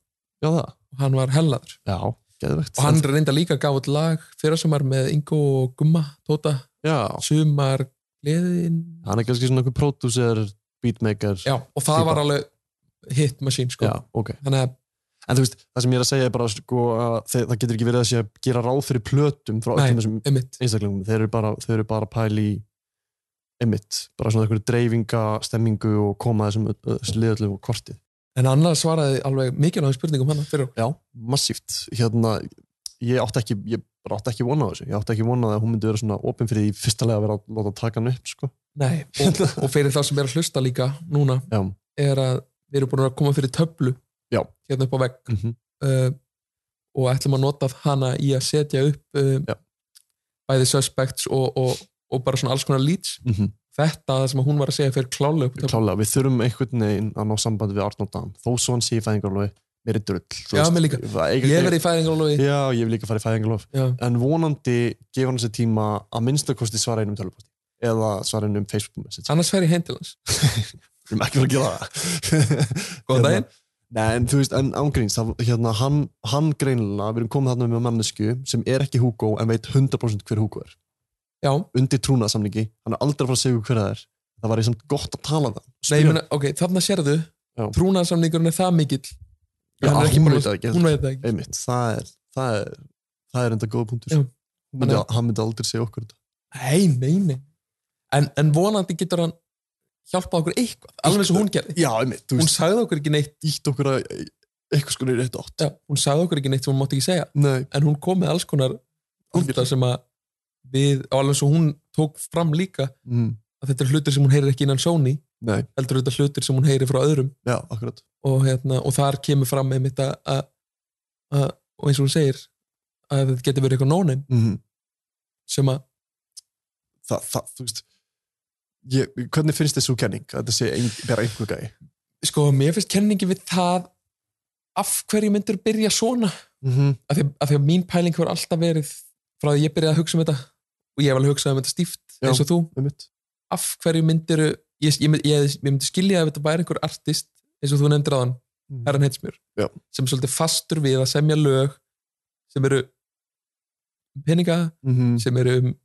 já það
og hann var hellaður
já, geðvægt
og hann reynda líka að gaf út lag fyrir sumar með Ingo og Gumma Tóta,
já,
sumar gleðin,
hann er kannski svona einhver pródúser, beatmaker
já, og það
Týpa.
var alveg hit machine sko,
já, ok
þannig að
En þú veist, það sem ég er að segja er bara sko, að þe- það getur ekki verið að sé að gera ráð fyrir plötum frá
Nei.
öllum þessum
einmitt,
einstaklingum. Þeir eru bara, þeir eru bara að pæla í emitt, bara svona einhverju dreifinga, stemmingu og koma þessum ö- ö- þessu liðallum og kortið.
en annars svaraði alveg mikilvægum spurningum hann fyrir
Já, massíft. Hérna, ég átti ekki, ég bara átti ekki vona á þessu. Ég átti ekki vona að hún myndi vera svona opin fyrir því fyrsta lega að vera að láta taka hann upp, sko.
Nei, og, og fyrir þá sem er að hlusta líka núna
Já.
er að við erum búin að koma fyrir töflu
Já.
hérna upp á vegg
Mm -hmm.
uh, og ætlum að nota hana í að setja upp uh,
Já.
bæði suspects og, og, og bara svona alls konar leads
Mm -hmm.
þetta það sem hún var að segja fyrir klálega upp á töflu
Klálega, við þurfum einhvern veginn að ná sambandi við Arnold Dan, þó svo hann sé í fæðingarlófi, mér er drull. þú
Já,
veist.
mér líka.
Það-
ég verði í fæðingarlófi
Já, ég vil líka fara í fæðingarlof
Já.
en vonandi gefur hann sér tíma að minnstakosti svara einum tölvuposti eða svara einum Facebook message
annars fer ég heim til hans
við erum ekki verið að gera það
Góðan
Hérna,
daginn.
Nei, en þú veist, en ángríns hérna, hann, hann greinilega, við erum komið þarna með mannesku sem er ekki Hugo en veit 100% hver Hugo er
Já,
undir trúnaðarsamningi, hann er aldrei að fara að segja hver það er það var í samt gott að tala það
Nei, ég meina, ok, þarna sérðu
Já.
trúnaðarsamningurinn er það mikill
Já,
Hann er ekki
hún
bara-
veit það ekki.
hún veit það ekki
einmitt, það er það er, það er enda góða punktur
Já.
Hún myndi,
Þannig
hann myndi aldrei segja okkur þetta
Nei, nei, nei en, en vonandi getur hann hjálpað okkur eitthvað, alveg eins og hún gerði
já, einmitt, þú
hún
veist,
sagði okkur ekki neitt
ítt okkur að eitthvað sko neyri eitt átt
já, hún sagði okkur ekki neitt sem hún mátti ekki segja
Nei,
en hún kom með alls konar hluta sem að við, og alveg svo hún tók fram líka
mm,
að þetta er hlutir sem hún heyrir ekki innan Sony
nei,
heldur þetta hlutir sem hún heyrir frá öðrum
já, akkurat
og, hérna, og þar kemur fram einmitt að, að, að og eins og hún segir að þetta getur verið eitthvað nóneim
mm.
sem að,
það, það, þú veist ég, hvernig finnst þér svo kenning að þetta sé ein, bara einhver gæi
sko, mér finnst kenningi við það af hverju myndur byrja svona
mm -hmm.
af því að, af því að mín pæling hefur alltaf verið frá því að ég byrjaði að hugsa um þetta og ég hef alveg hugsað um þetta stíft
Já.
eins og þú,
einmitt
af hverju myndir ég, ég, ég, mynd- ég, ég myndi skilja ef þetta væri einhver artist eins og þú nefndir aðan,
Mhm.
Herran Hetsmjör
Já.
sem er svolítið fastur við að semja lög sem eru um peninga,
mm -hmm.
sem eru um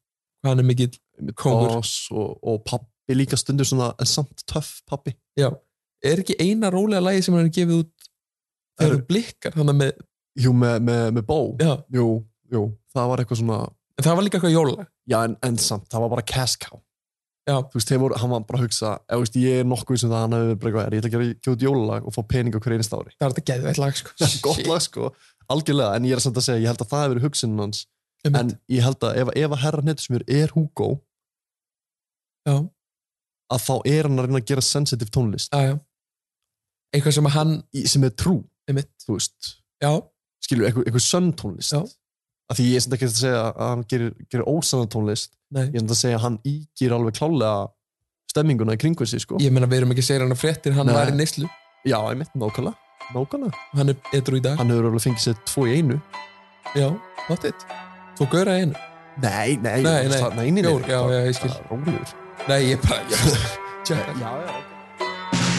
hvað hann er mikill kóngur
og, og pappi líka stundur svona en samt töff pappi
Já. er ekki eina rólega lægi sem hann er gefið út það
Er-
eru blikkar þannig með,
jú, með, með, með bó
já,
jú, jú, það var eitthvað svona
en það var líka eitthvað jóla
já, en, en samt, það var bara cash cow
Já.
þú veist, þeir voru, hann var bara að hugsa eða, þú veist, ég er nokkuð sem það hann hefur verið bara eitthvað, "Er, ég ætla að gera gefa út jólalag og fá pening á hverju einasta ári
það var þetta geðið lag sko.
það er gott lag sko, algjörlega en ég er samt að segja, ég held að það hefur verið hugsunin hans
Einmitt.
en ég held að ef, ef að herra netusmjör er Hugo
Já.
að þá er hann að reyna að gera sensitive tónlist
já, já. eitthvað sem að hann
í, sem er trú,
er mitt
þú veist
já,
skilur, einhver, einhver sönn tónlist
Já.
af því ég er sem ekki að segja að hann gerir, gerir ósanna tónlist
nei,
ég er sem að segja að hann ígir alveg klálega stemminguna í kringu sig sko
ég meina við erum ekki að segja hann að fréttir hann
Nei.
var í neyslu,
já, einmitt, nákvæmlega nákvæmlega,
hann er edru í dag
hann hefur alveg fengið sér tvo í einu
já, not it, þú gauðra einu
nei, nei,
Nei, nei.
það, nei, nei, nei,
Bjór, já, já, ég skil.
Það er rólegur.
nei, ég bara, já, tjekka
já, já,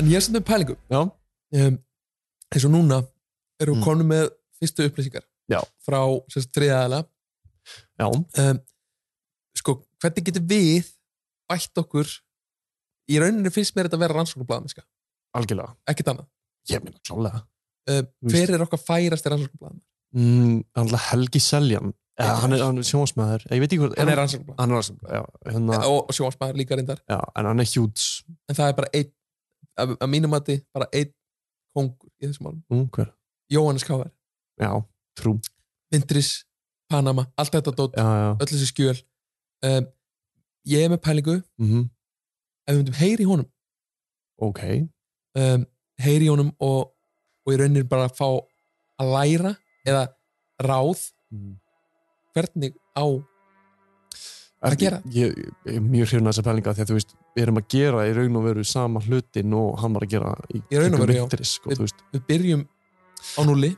en ég er sem þau pælingu
já,
um, eins og núna erum
Mm.
við konum með fyrstu upplýsingar
Já.
frá sérst þriðaðala
já.
um, sko, hvernig getum við bætt okkur í rauninni finnst mér þetta að vera rannsóknarblæðamiska
algjörlega
ekkert annað,
Ég meina klálega
um,
Víst.
hver er okkar færasti rannsóknarblæðamæður,
mm, Alltaf Helgi Seljan eða, hann, er, hann er sjónvarsmaður Ég veit ekki hvort
hann er rannsóknarblæðamæður
hann er rannsókn já, hérna,
og sjónvarsmaður líka reyndar
já, En hann er hjúts
en það er bara einn að, að mínum mati bara einn kongur í þessum málum
mm, hver?
Jóhannes Káver,
Já, trú
Vindris, Panama allt þetta dót,
já, já.
öll þessi skjöl um, ég er með pælingu
Mm
ef við myndum heyri í honum
Ok,
um, heyri í honum og, og í rauninni bara fá að læra eða ráð
Mm.
hvernig á Að gera.
Ég, ég er mjög hrifna þessa pælinga því að þú veist, við erum að gera í raun og veru sama hlutin og hann var að gera í,
Í raun og
kringum
veru, já.
Victoris, sko, þú veist.
við byrjum á núli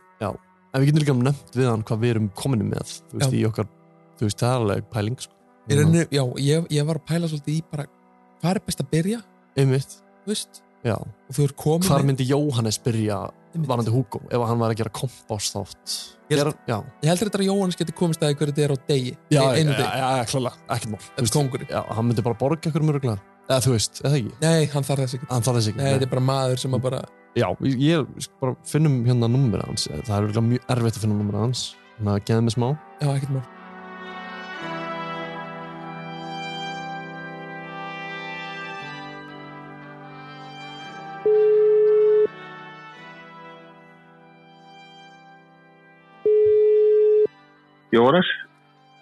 En við getum líka nefnt við hann hvað við erum kominni með þú veist,
Já.
í okkar, þú veist, það er alveg pæling sko.
Í rauninni, já, ég, ég var að pæla svolítið í bara hvað er best að byrja,
Einmitt,
þú veist
já.
og þú er komin
Hvar myndi Jóhannes byrja
Einmitt.
varandi Hugo ef hann var að gera kompásþátt?
Ég-
Gera- Já,
ég heldur þetta að Jóhannes geti komist að því hverju þetta er á degi
já,
Ein-
já,
einu
já,
degi,
já, klálega, ekkert mál. Þú
þetta er
veist,
kongurinn
Já, hann myndi bara borga ykkur mörgulega. Eða þú veist, eða ekki?
nei, hann þarf þess ekki,
Hann þarf þess ekki.
nei, þetta er bara maður sem að bara
Já, ég- ég sko bara finnum hérna nummerið hans. Það er örugglega mjög erfitt að finna nummerið hans. Þannig að geða mig smá.
já, ekkert mál
Jóras,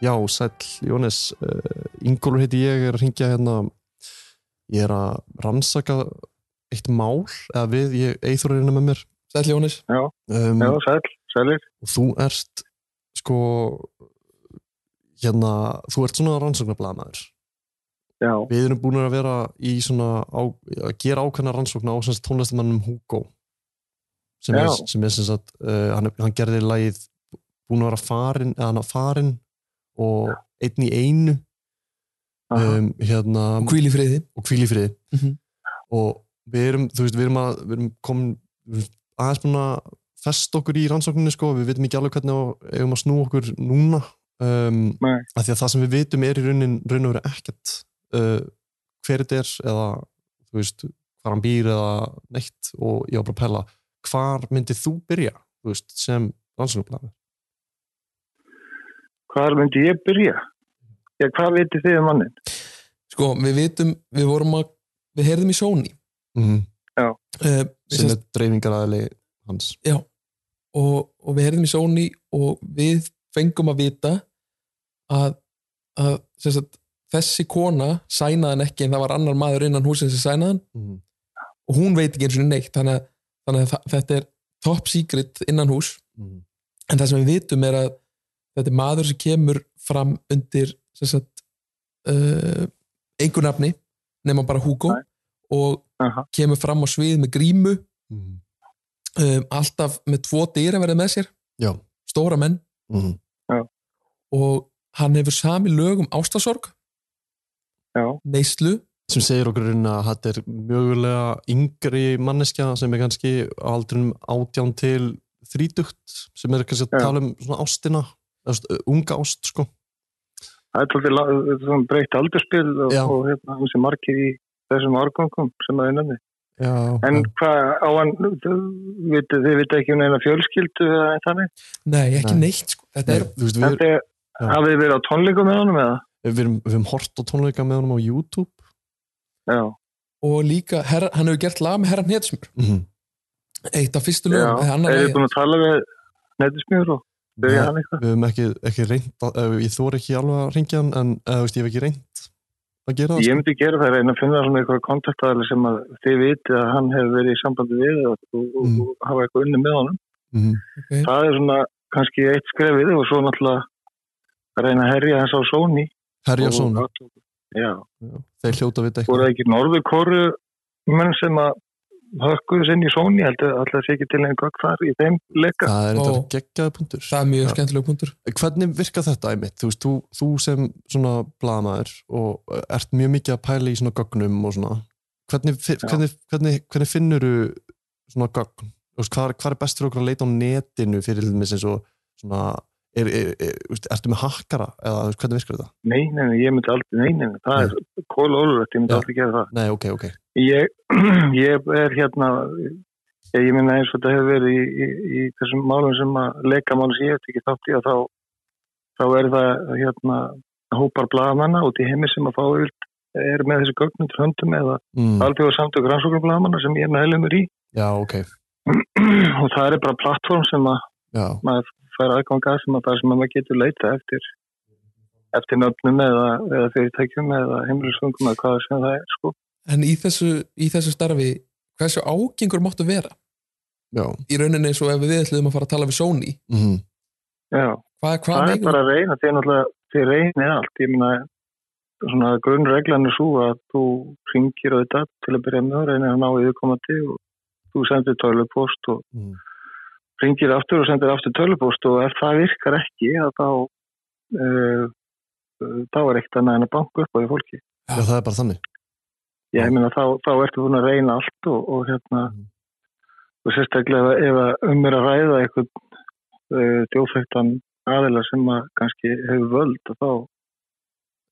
Já, sæll, Jónis. Uh, Ingólfur heiti ég, er að ringja hérna. Ég er að rannsaka eitt mál, eða við, ég eithur hérna með mér.
sæll Jóhannes,
Um,
já, sæl, sælir.
og þú ert sko hérna, þú ert svona rannsóknarblæðamæður
Já,
við erum búin að vera í svona á, að gera ákveðna rannsókna á sem sagt tónlistamannum Hugo sem er,
Já.
sem er sem sagt uh, hann, hann gerði lagið búin að vera farin eða hann að farin og einn í einu
aha,
um, hérna,
og kvíl í friði
og hvíl í friði
Mhm.
og við erum, þú veist, við erum að við erum komin við erum aðeins búin að fest okkur í rannsókninni sko, við veitum ekki alveg hvernig á, eigum að snú okkur núna um,
Nei.
af því að það sem við vitum er í raunin raun og verið ekkert uh, hver þetta er eða þú veist, hvar hann býr eða neitt og ég var bara að pæla hvar myndið þú byrja, þú veist, sem rannsóknarblæði
hvar myndi ég byrja? Já, hvað veitir þið um mannin?
sko, við vitum, við vorum að við heyrðum í Sony
mm.
uh,
sem er dreifingaraðili hans
Já, og, og við heyrðum í Sony og við fengum að vita að, að sem sagt, þessi kona sænaði hann ekki en það var annar maður innan húsin sem sænaði hann
mm.
og hún veit ekki eins og neitt þannig að, þannig að þa- þetta er top secret innan hús
Mm.
en það sem við vitum er að þetta er maður sem kemur fram undir sem sagt, uh, einhver nafni nema bara Hugo
Nei.
og
Aha.
kemur fram á svið með grímu
Mm.
um, alltaf með tvo dýra verið með sér
Já.
stóra menn
Mm.
og hann hefur sami lög um ástasorg,
Já,
neyslu
sem segir okkur í rauninni að þetta er mögulega yngri manneskja sem er kannski á aldrinum átján til þrítugt sem er kannski að
Já.
tala um svona ástina eða svona, uh, unga ást sko
það er svolítið la- svona breytt aldurspil og,
Já.
og hérna, hans er margir í þessum árgangum sem að innanni.
já,
En
en,
hvað á hann, vitið, þið vitið ekki um neina fjölskyldu eða eitt þannig?
nei, ekki
Nei.
neitt sko. þetta er,
þú veist, við,
Þetta er,
Já.
hafið þið verið á tónleikum með honum eða?
við, erum, við erum hort á tónleika með honum á YouTube
Já,
og líka herra, hann hefur gert lag með herran Hetsmur
Mhm.
eitt af fyrstu
já,
lögum eða annað
er þið
lagið.
búin að tala við netismjör og
Nei,
byrja hann eitthvað?
við höfum ekki, ekki reynd að, eh, ég þóri ekki alveg að ringja hann en eða, þú veist, ég hef ekki reynd að gera það
Ég
sko.
myndi gera það, reyna að finna svona eitthvað kontaktaðalega sem að þið vitið að hann hefur verið í sambandi við og, og,
Mm.
og, og hafa eitthvað unni með honum.
Mhm.
Það er svona kannski eitt skrefið og svo náttúrulega að reyna að herja hans á Sony.
Herja
Og-
Sónu,
Já,
þeir hljóta að vita
voru
eitthvað
það ekki norður kóru menn sem að hökkuðs inn í Sony, heldur alltaf sé ekki til einhver þar í þeim leika.
það er þetta
Ó.
geggjaði punktur
það er mjög
Já.
skemmtileg punktur
hvernig virka þetta einmitt? Þú, veist, þú, þú sem svona blamaður og uh, ert mjög mikið að pæla í svona gögnum og svona hvernig, fi-
Já.
hvernig, hvernig, hvernig finnuru svona gögn? Þú veist, Hvað, er- hvað er best fyrir okkur að leita á netinu fyrir til dæmis eins og svona er, er, er, þú veist, ertu með hakkara eða þú veist, hvernig virkar þetta?
Nei, nei, nei, ég myndi aldrei, nei, nei, nei, það er kóla ólulegt, ég myndi
Já.
aldrei gera það.
Nei, ok, ok
Ég, ég er hérna, ég, ég minna eins og þetta hefur verið í, í, í þessum málum sem að leika málum sem ég hef ekki þátt í að þá, þá er það hérna hópar blagamanna út í heimi sem að fá yfir, er með þessi gögnum til höndum eða
mm,
alþjóða samtök rannsóknum blagamanna sem ég er meðlumur í
Já, ok,
og það er bara plattform sem að
já,
maður fær aðgang að sem að það sem að maður getur leita eftir eftir nöfnum eða, eða fyrirtækjum eða heimilisfungum eða hvað sem það er sko.
en í þessu, í þessu starfi hversu ágengur máttu vera
já
í rauninni eins og ef við ætlum að fara að tala við Sony
mm,
já.
Hvað, hvað
það er
megum
bara að reyna, þið er náttúrulega, þið reynið allt, ég meina svona grunnreglan er svo að þú ringir auðvitað til að byrja með og reynir að ná yfirkomandi og þú sendir tölupost og
Mm.
ringir aftur og sendir aftur tölupost og ef það virkar ekki að þá uh, þá er ekkert annað en að banka upp á því fólki.
Já, það er bara þannig.
Ég meina þá, þá ertu búin að reyna allt og, og hérna
Mm.
og sérstaklega ef, ef að um er að ræða eitthvað uh, djófættan aðila sem að kannski hefur völd og þá,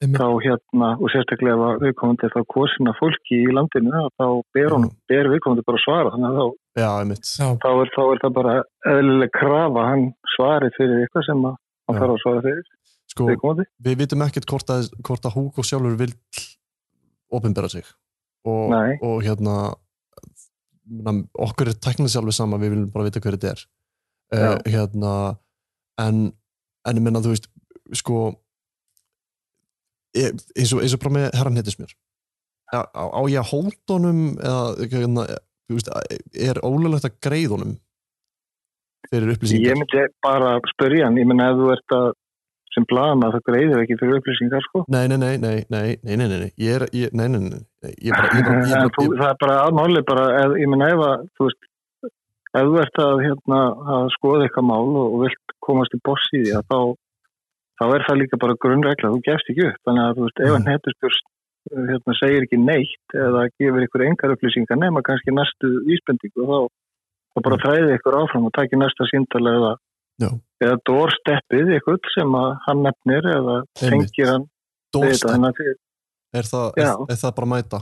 Um
Einmitt.
þá hérna og sérstaklega ef að viðkomandi er þá kosin af fólki í landinu að þá ber, hún,
Mm.
ber viðkomandi bara að svara þannig að þá,
Já, einmitt.
Já,
þá, er, þá er það bara eðlileg krafa að hann svari fyrir eitthvað sem að
Já.
hann þarf að svara fyrir
Sko,
viðkomandi
við vitum ekkert hvort að, hvort að Hugo sjálfur vil opinbera sig. Og,
Nei.
og hérna, na, okkur er tæknið sjálfur sama, við viljum bara vita hver þetta er. Uh, hérna, en, en ég menna, þú veist, sko, e- eins og, eins og bara með herran hittist mér. Á, á á ég að hóta honum eða, hérna, þú veist, er ólulegt að greið honum fyrir
Ég
upplýsingar?
myndi bara spyrja hann, ég menna ef þú ert að sem blaðama það greiðir ekki fyrir upplýsingar sko
Nei, nei, nei, nei, nei, nei, nei, nei, nei, ég er, ég, nei, nei, nei, nei, nei, ég bara, ég bara, ég
En þú,
bara, ég,
það er bara aðmáli bara, ef, ég meina ef að þú veist, ef þú ert að, hérna, að skoða eitthvað mál og, og vilt komast í boss í því að þá þá er það líka bara grunnregla, þú gefst ekki upp þannig að
Mm.
þú veist, ef hann hettuspjörst hérna, segir ekki neitt eða gefur ykkur engar upplýsingar nema kannski næstu íspendingu þá, þá bara þræði ykkur áfram og taki næsta síndal eða
Mm. Já.
eða dórsteppið ykkur sem að hann nefnir eða
Einmitt.
tengir hann við þetta,
dórstætt,
þannig að þið-
er það, er,
Já.
er það bara að mæta?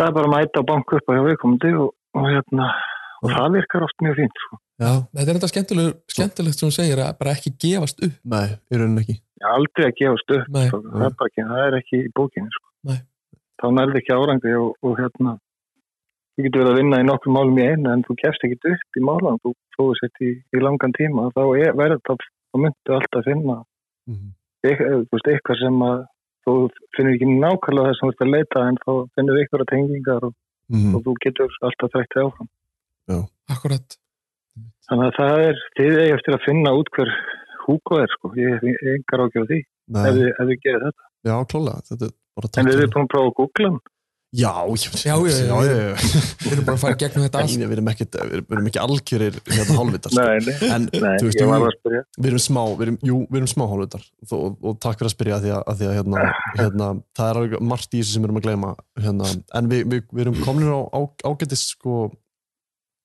það er bara að mæta og banka upp á hjá viðkomandi og, og hérna og það virkar oft mjög fínt sko.
Já.
þetta er þetta skemmtileg, skemmtilegt sem hún segir að bara ekki gefast upp
Nei, í rauninni ekki.
Ég er aldrei að gefa stöð
Nei,
það er, bara ekki, það er ekki í bókinni sko.
Nei.
þá nærði ekki árangri og, og hérna þú getur verið að vinna í nokkur málum í einu en þú kefst ekki upp í málan þú fóðu sett í, í langan tíma þá er- verður það þá myndu alltaf finna
Mhm.
eitth- eh, þú veist, eitthvað sem að þú finnur ekki nákvæmlega það sem þú ert að leita en þá finnur ykkur að tengingar og,
Mhm.
og þú getur alltaf þrættið áfram
akkurat
Þannig að það er, þið eigi eftir að finna út hver húko er, sko. Ég hef engar ágjörð því ef
Nei,
þið, ef þið gerir þetta.
já, klálega, þetta er bara
En við erum
takk.
búin að prófa að googla hann.
Já, ég-
Já, já, já,
já, já, já.
Við erum bara að fara í gegnum þetta
Nei,
allt
Við erum ekki, við erum ekki algjörir hérna hálfvitar. sko.
Nei, nei,
En,
nei,
þú veist, um
ég var
jú,
að spyrja.
við erum smá, við erum, jú, við erum smá hálfvitar og, og takk fyrir að spyrja að því að, að, því að hérna, hérna, það er alveg margt í þessu sem við erum að gleyma hérna, en við, við, við erum komin á, á ágætis sko,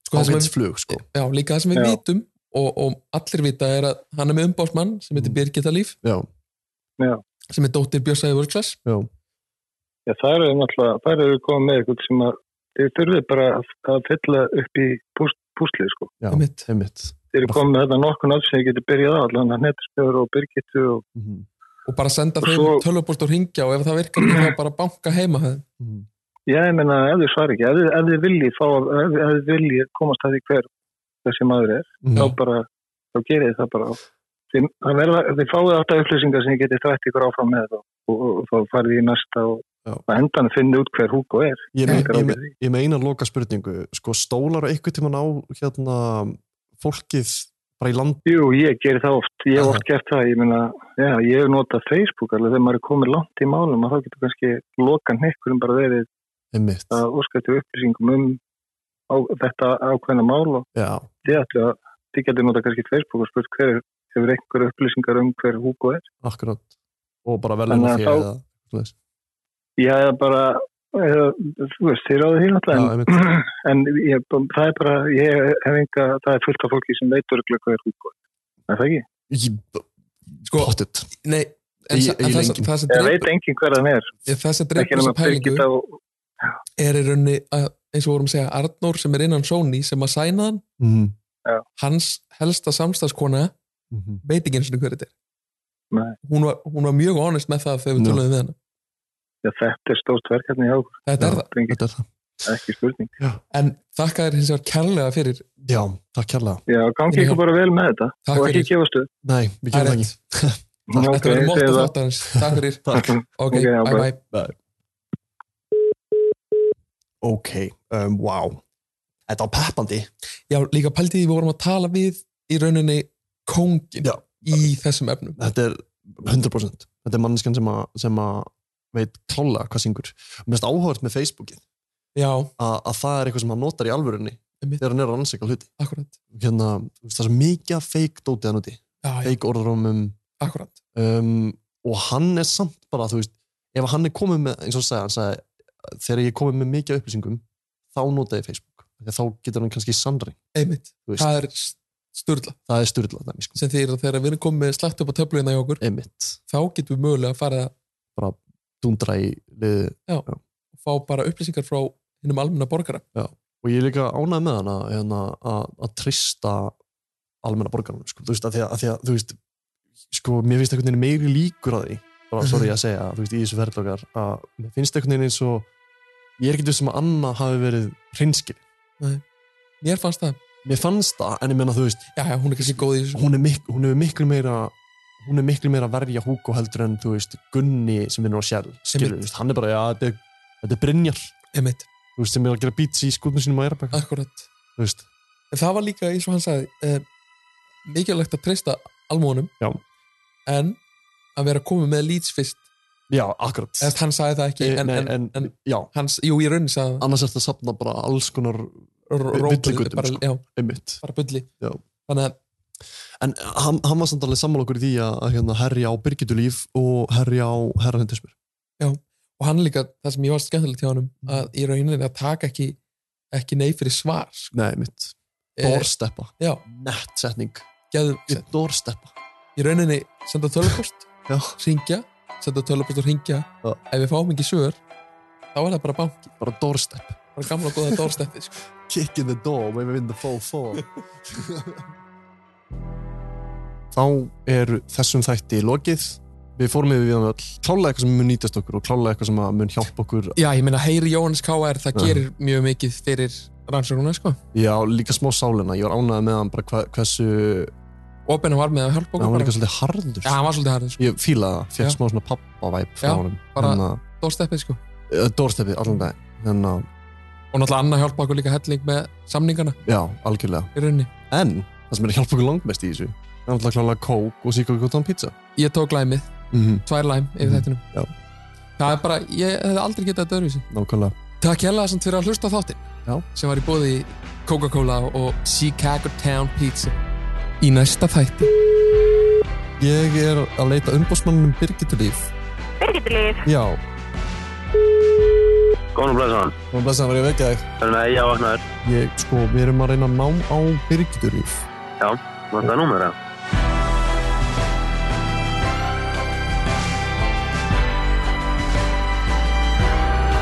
sko, það sem
ágætis
við-
flug sko.
Já, líka það sem við
Já.
vitum og, og allir vita er að hann er með umbásmann sem heitir
Mm.
Birgitta Líf
Já,
sem er dóttir Björnsæði Vörglas
já,
Já, það eru náttúrulega, það eru komið með eitthvað sem að þið þurfið bara að, að fylla upp í pús- púslið, sko.
já,
Einmitt.
einmitt
Þið eru komið með þetta nokkur nátt sem þið getur byrjað á, allan að nettspjóður og byrgittu og
Mhm,
og bara senda
Og
þeim
svo-
tölvupost og ringja og ef það virkar ekki þá bara banka heima þeim.
mhm.
Já, ég meina, ef þið svar ekki, ef þið, ef þið viljið fá, ef, ef þið viljið komast að því hver þessi maður er,
Mhm.
þá bara, þá gerir þið það bara. Þið, það verða, þið fáið alltaf upplýsingar sem þið getið þrætt ykkur áfram með það og, og, og þá farið í næsta og
Já.
og á endan finnið út hver húko er.
Ég
Engar
með, ég,
áhyggjur
með,
af því.
ég með eina loka spurningu sko, stólar og einhvern tímann á hérna, fólkið bara í land
Jú, ég gerir það oft, ég hef
Aha.
oft gert það, ég meina, já, ég hef notað Facebook alveg þegar maður er komið langt í málum að þá getur kannski lokan ykkurum bara verið
einmitt,
að óskættu upplýsingum um á, þetta ákveðna mál og
já,
þið ætlu að þið getur nota kannski Facebook og spurt hver hefur einhver upplýsingar um hver húko er
akkurat og bara
Þannig
verðina
að
því
þá-
eða, svoleiðis.
ég hefði bara eða, þú veist, þið ráðu því
já,
náttúrulega
einmitt,
en, en ég, það er bara ég hef enga, það er fullt af fólki sem veitur hver húko er, er það ekki?
Ég-
sko,
pottet
nei en,
Ég-
sa- en
ég
það,
lengi.
það sem
ég
dreipur
veit engin hver hann er,
það sem
ekki
dreipur þessa
nema
pælingu
Birgitta og
er í rauninni að, eins og vorum að segja Arnór sem er innan Sony sem að sæna hann
mhm,
hans helsta samstagskona
mhm.
veit ekki eins og hverju þetta er
Nei.
hún var, hún var mjög honest með það þegar við
Já.
tölum við hana
já, þetta er stórt verkefni hjá okkur,
þetta er það,
það er engin-
þetta er það
ekki spurning
en þakka þér hins vegar kærlega fyrir
já, takk kærlega
já, gangi
Já.
ykkur bara vel með þetta
Takk
og ekki
fyrir.
gefastu
Nei, við gerum
Það er
það ekki.
þetta verður mótt að þátt hans, takk fyrir
Takk.
ok,
Ok, já,
bye
bye.
bye
Ok, um, wow. Þetta var peppandi.
já, líka pæltið við vorum að tala við í rauninni kóngin
Já.
í þessum efnum
þetta er 100% þetta er manneskan sem að, sem að veit klálega hvað syngur mér finnst áhugavert með Facebookið
já,
að, að það er eitthvað sem hann notar í alvörunni
Einmitt.
þegar hann er að rannsaka hluti
akkurat
hérna, þú veist, það er svo mikið af fake dótið hann úti
já, já,
fake orðrómum
akkurat
um, og hann er samt bara þú veist, ef hann er komið með eins og sagði, hann sagði þegar ég er komið með mikið af upplýsingum þá nota ég Facebook þegar þá getur hann kannski sannring
einmitt,
Þú veist.
það er sturla
það er styrlað dæmi sko.
sem þýðir að þegar við erum komið slætt upp á töfluna hjá okkur
emitt,
þá getum við mögulega að fara að
dundra í liði
fá bara upplýsingar frá hinnum almenna borgara
og ég er líka ánægð með hana hérna, að- að trista almenna borgarunum sko. þú veist, að því að, að, því að þú veist, sko, mér finnst einhvern veginn meiri líkur að því bara sorry að segja, þú veist, í þessu verðlokar að mér finnst einhvern veginn eins og ég er ekki þessum að Anna hafi verið hreinskil,
mér fannst það,
mér fannst það en ég menna, þú veist,
já, já, hún er kannski góð í þessu
hún er, mik hún er miklu meira hún er miklu meira að verja Hugo heldur en þú veist, Gunni sem vinnur á Shell skilur,
Einmitt.
þú veist, hann er bara, já, þetta er, þetta er Brynjar,
einmitt,
þú veist, sem er að gera beats í skútum sínum á
Ah.
Eirabæk,
akkurat
þú veist
en það var líka eins og hann sagði eh, mikilvægt að treysta almónum
Já.
en að vera komið með leads fyrst
já, akkurat
Eðast, hann sagði það ekki
Nei,
en,
Eh, nei,
en, en, en
já,
hans, jú, í raunin sagði hann
annars er þetta að safna bara alls konar
r-
vi-
róbull,
villigötum,
bara,
sko.
já,
einmitt
bara bulli
Já.
þannig að,
en hann, hann var samt alveg sammála okkur í því að, að hérna, herja á Birgitu líf og herja á herrarhendismur
og hann líka, það sem ég var skemmtilegt hjá hann
Mm.
að í rauninni að taka ekki ekki nei fyrir svar sko.
nei, einmitt,
Eh,
dórsteppa
já,
nett setning,
geðu,
dórsteppa
í rauninni senda tölupost,
Já.
ringja senda tölupost og ringja
Já.
ef við fáum ekki svör þá er það bara banki,
bara dórstepp,
bara gamla góða dórsteppi sko.
kick in the door maybe in the fall fall þá er þessum þætti lokið við fórum yfir við hann öll klálega eitthvað sem mun nýtast okkur og klálega eitthvað sem að mun hjálpa okkur
já, ég meina heyri Jóhannes K.R. það
Já.
gerir mjög mikið fyrir rannsóknuna sko.
já, líka smá sálina, ég var ánægð með hann bara hva, hversu,
Opin var með að hjálpa
hann
okkur
var líka
bara.
svolítið harður
já, hann var svolítið harður, sko.
ég fílaði það,
Já.
fekk smá svona pappavæp frá
Já,
honum
bara-
hérna,
dórsteppi sko.
dórsteppi allan dag hérna,
og náttúrulega Anna hjálpa okkur líka helling með samningana
já, algjörlega
í rauninni
en það sem er að hjálpa okkur langmest í þessu er alltaf klálega kók og síkokkotan pizza
ég tók læmið,
mm -hmm.
tvær læm yfir
Mhm,
þættinum
já.
það er bara, ég hefði aldrei getað þetta öðruvísi
nákvæmlega
Takk hella samt fyrir að hlusta á þáttin
Já.
sem var í bóði Coca-Cola og Chicago Town Pizza í næsta þætti
ég er að leita umbósmannum Birgitur Líf
Birgitlíf,
já,
Góðan og blessaðan.
og þess að var ég að vekja þig
Þannig að ég á vaknaður.
ég, sko, við erum að reyna að nám á Birgitur Líf
Var það númer það?
halló,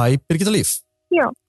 Hæ, Birgitur Líf
Já.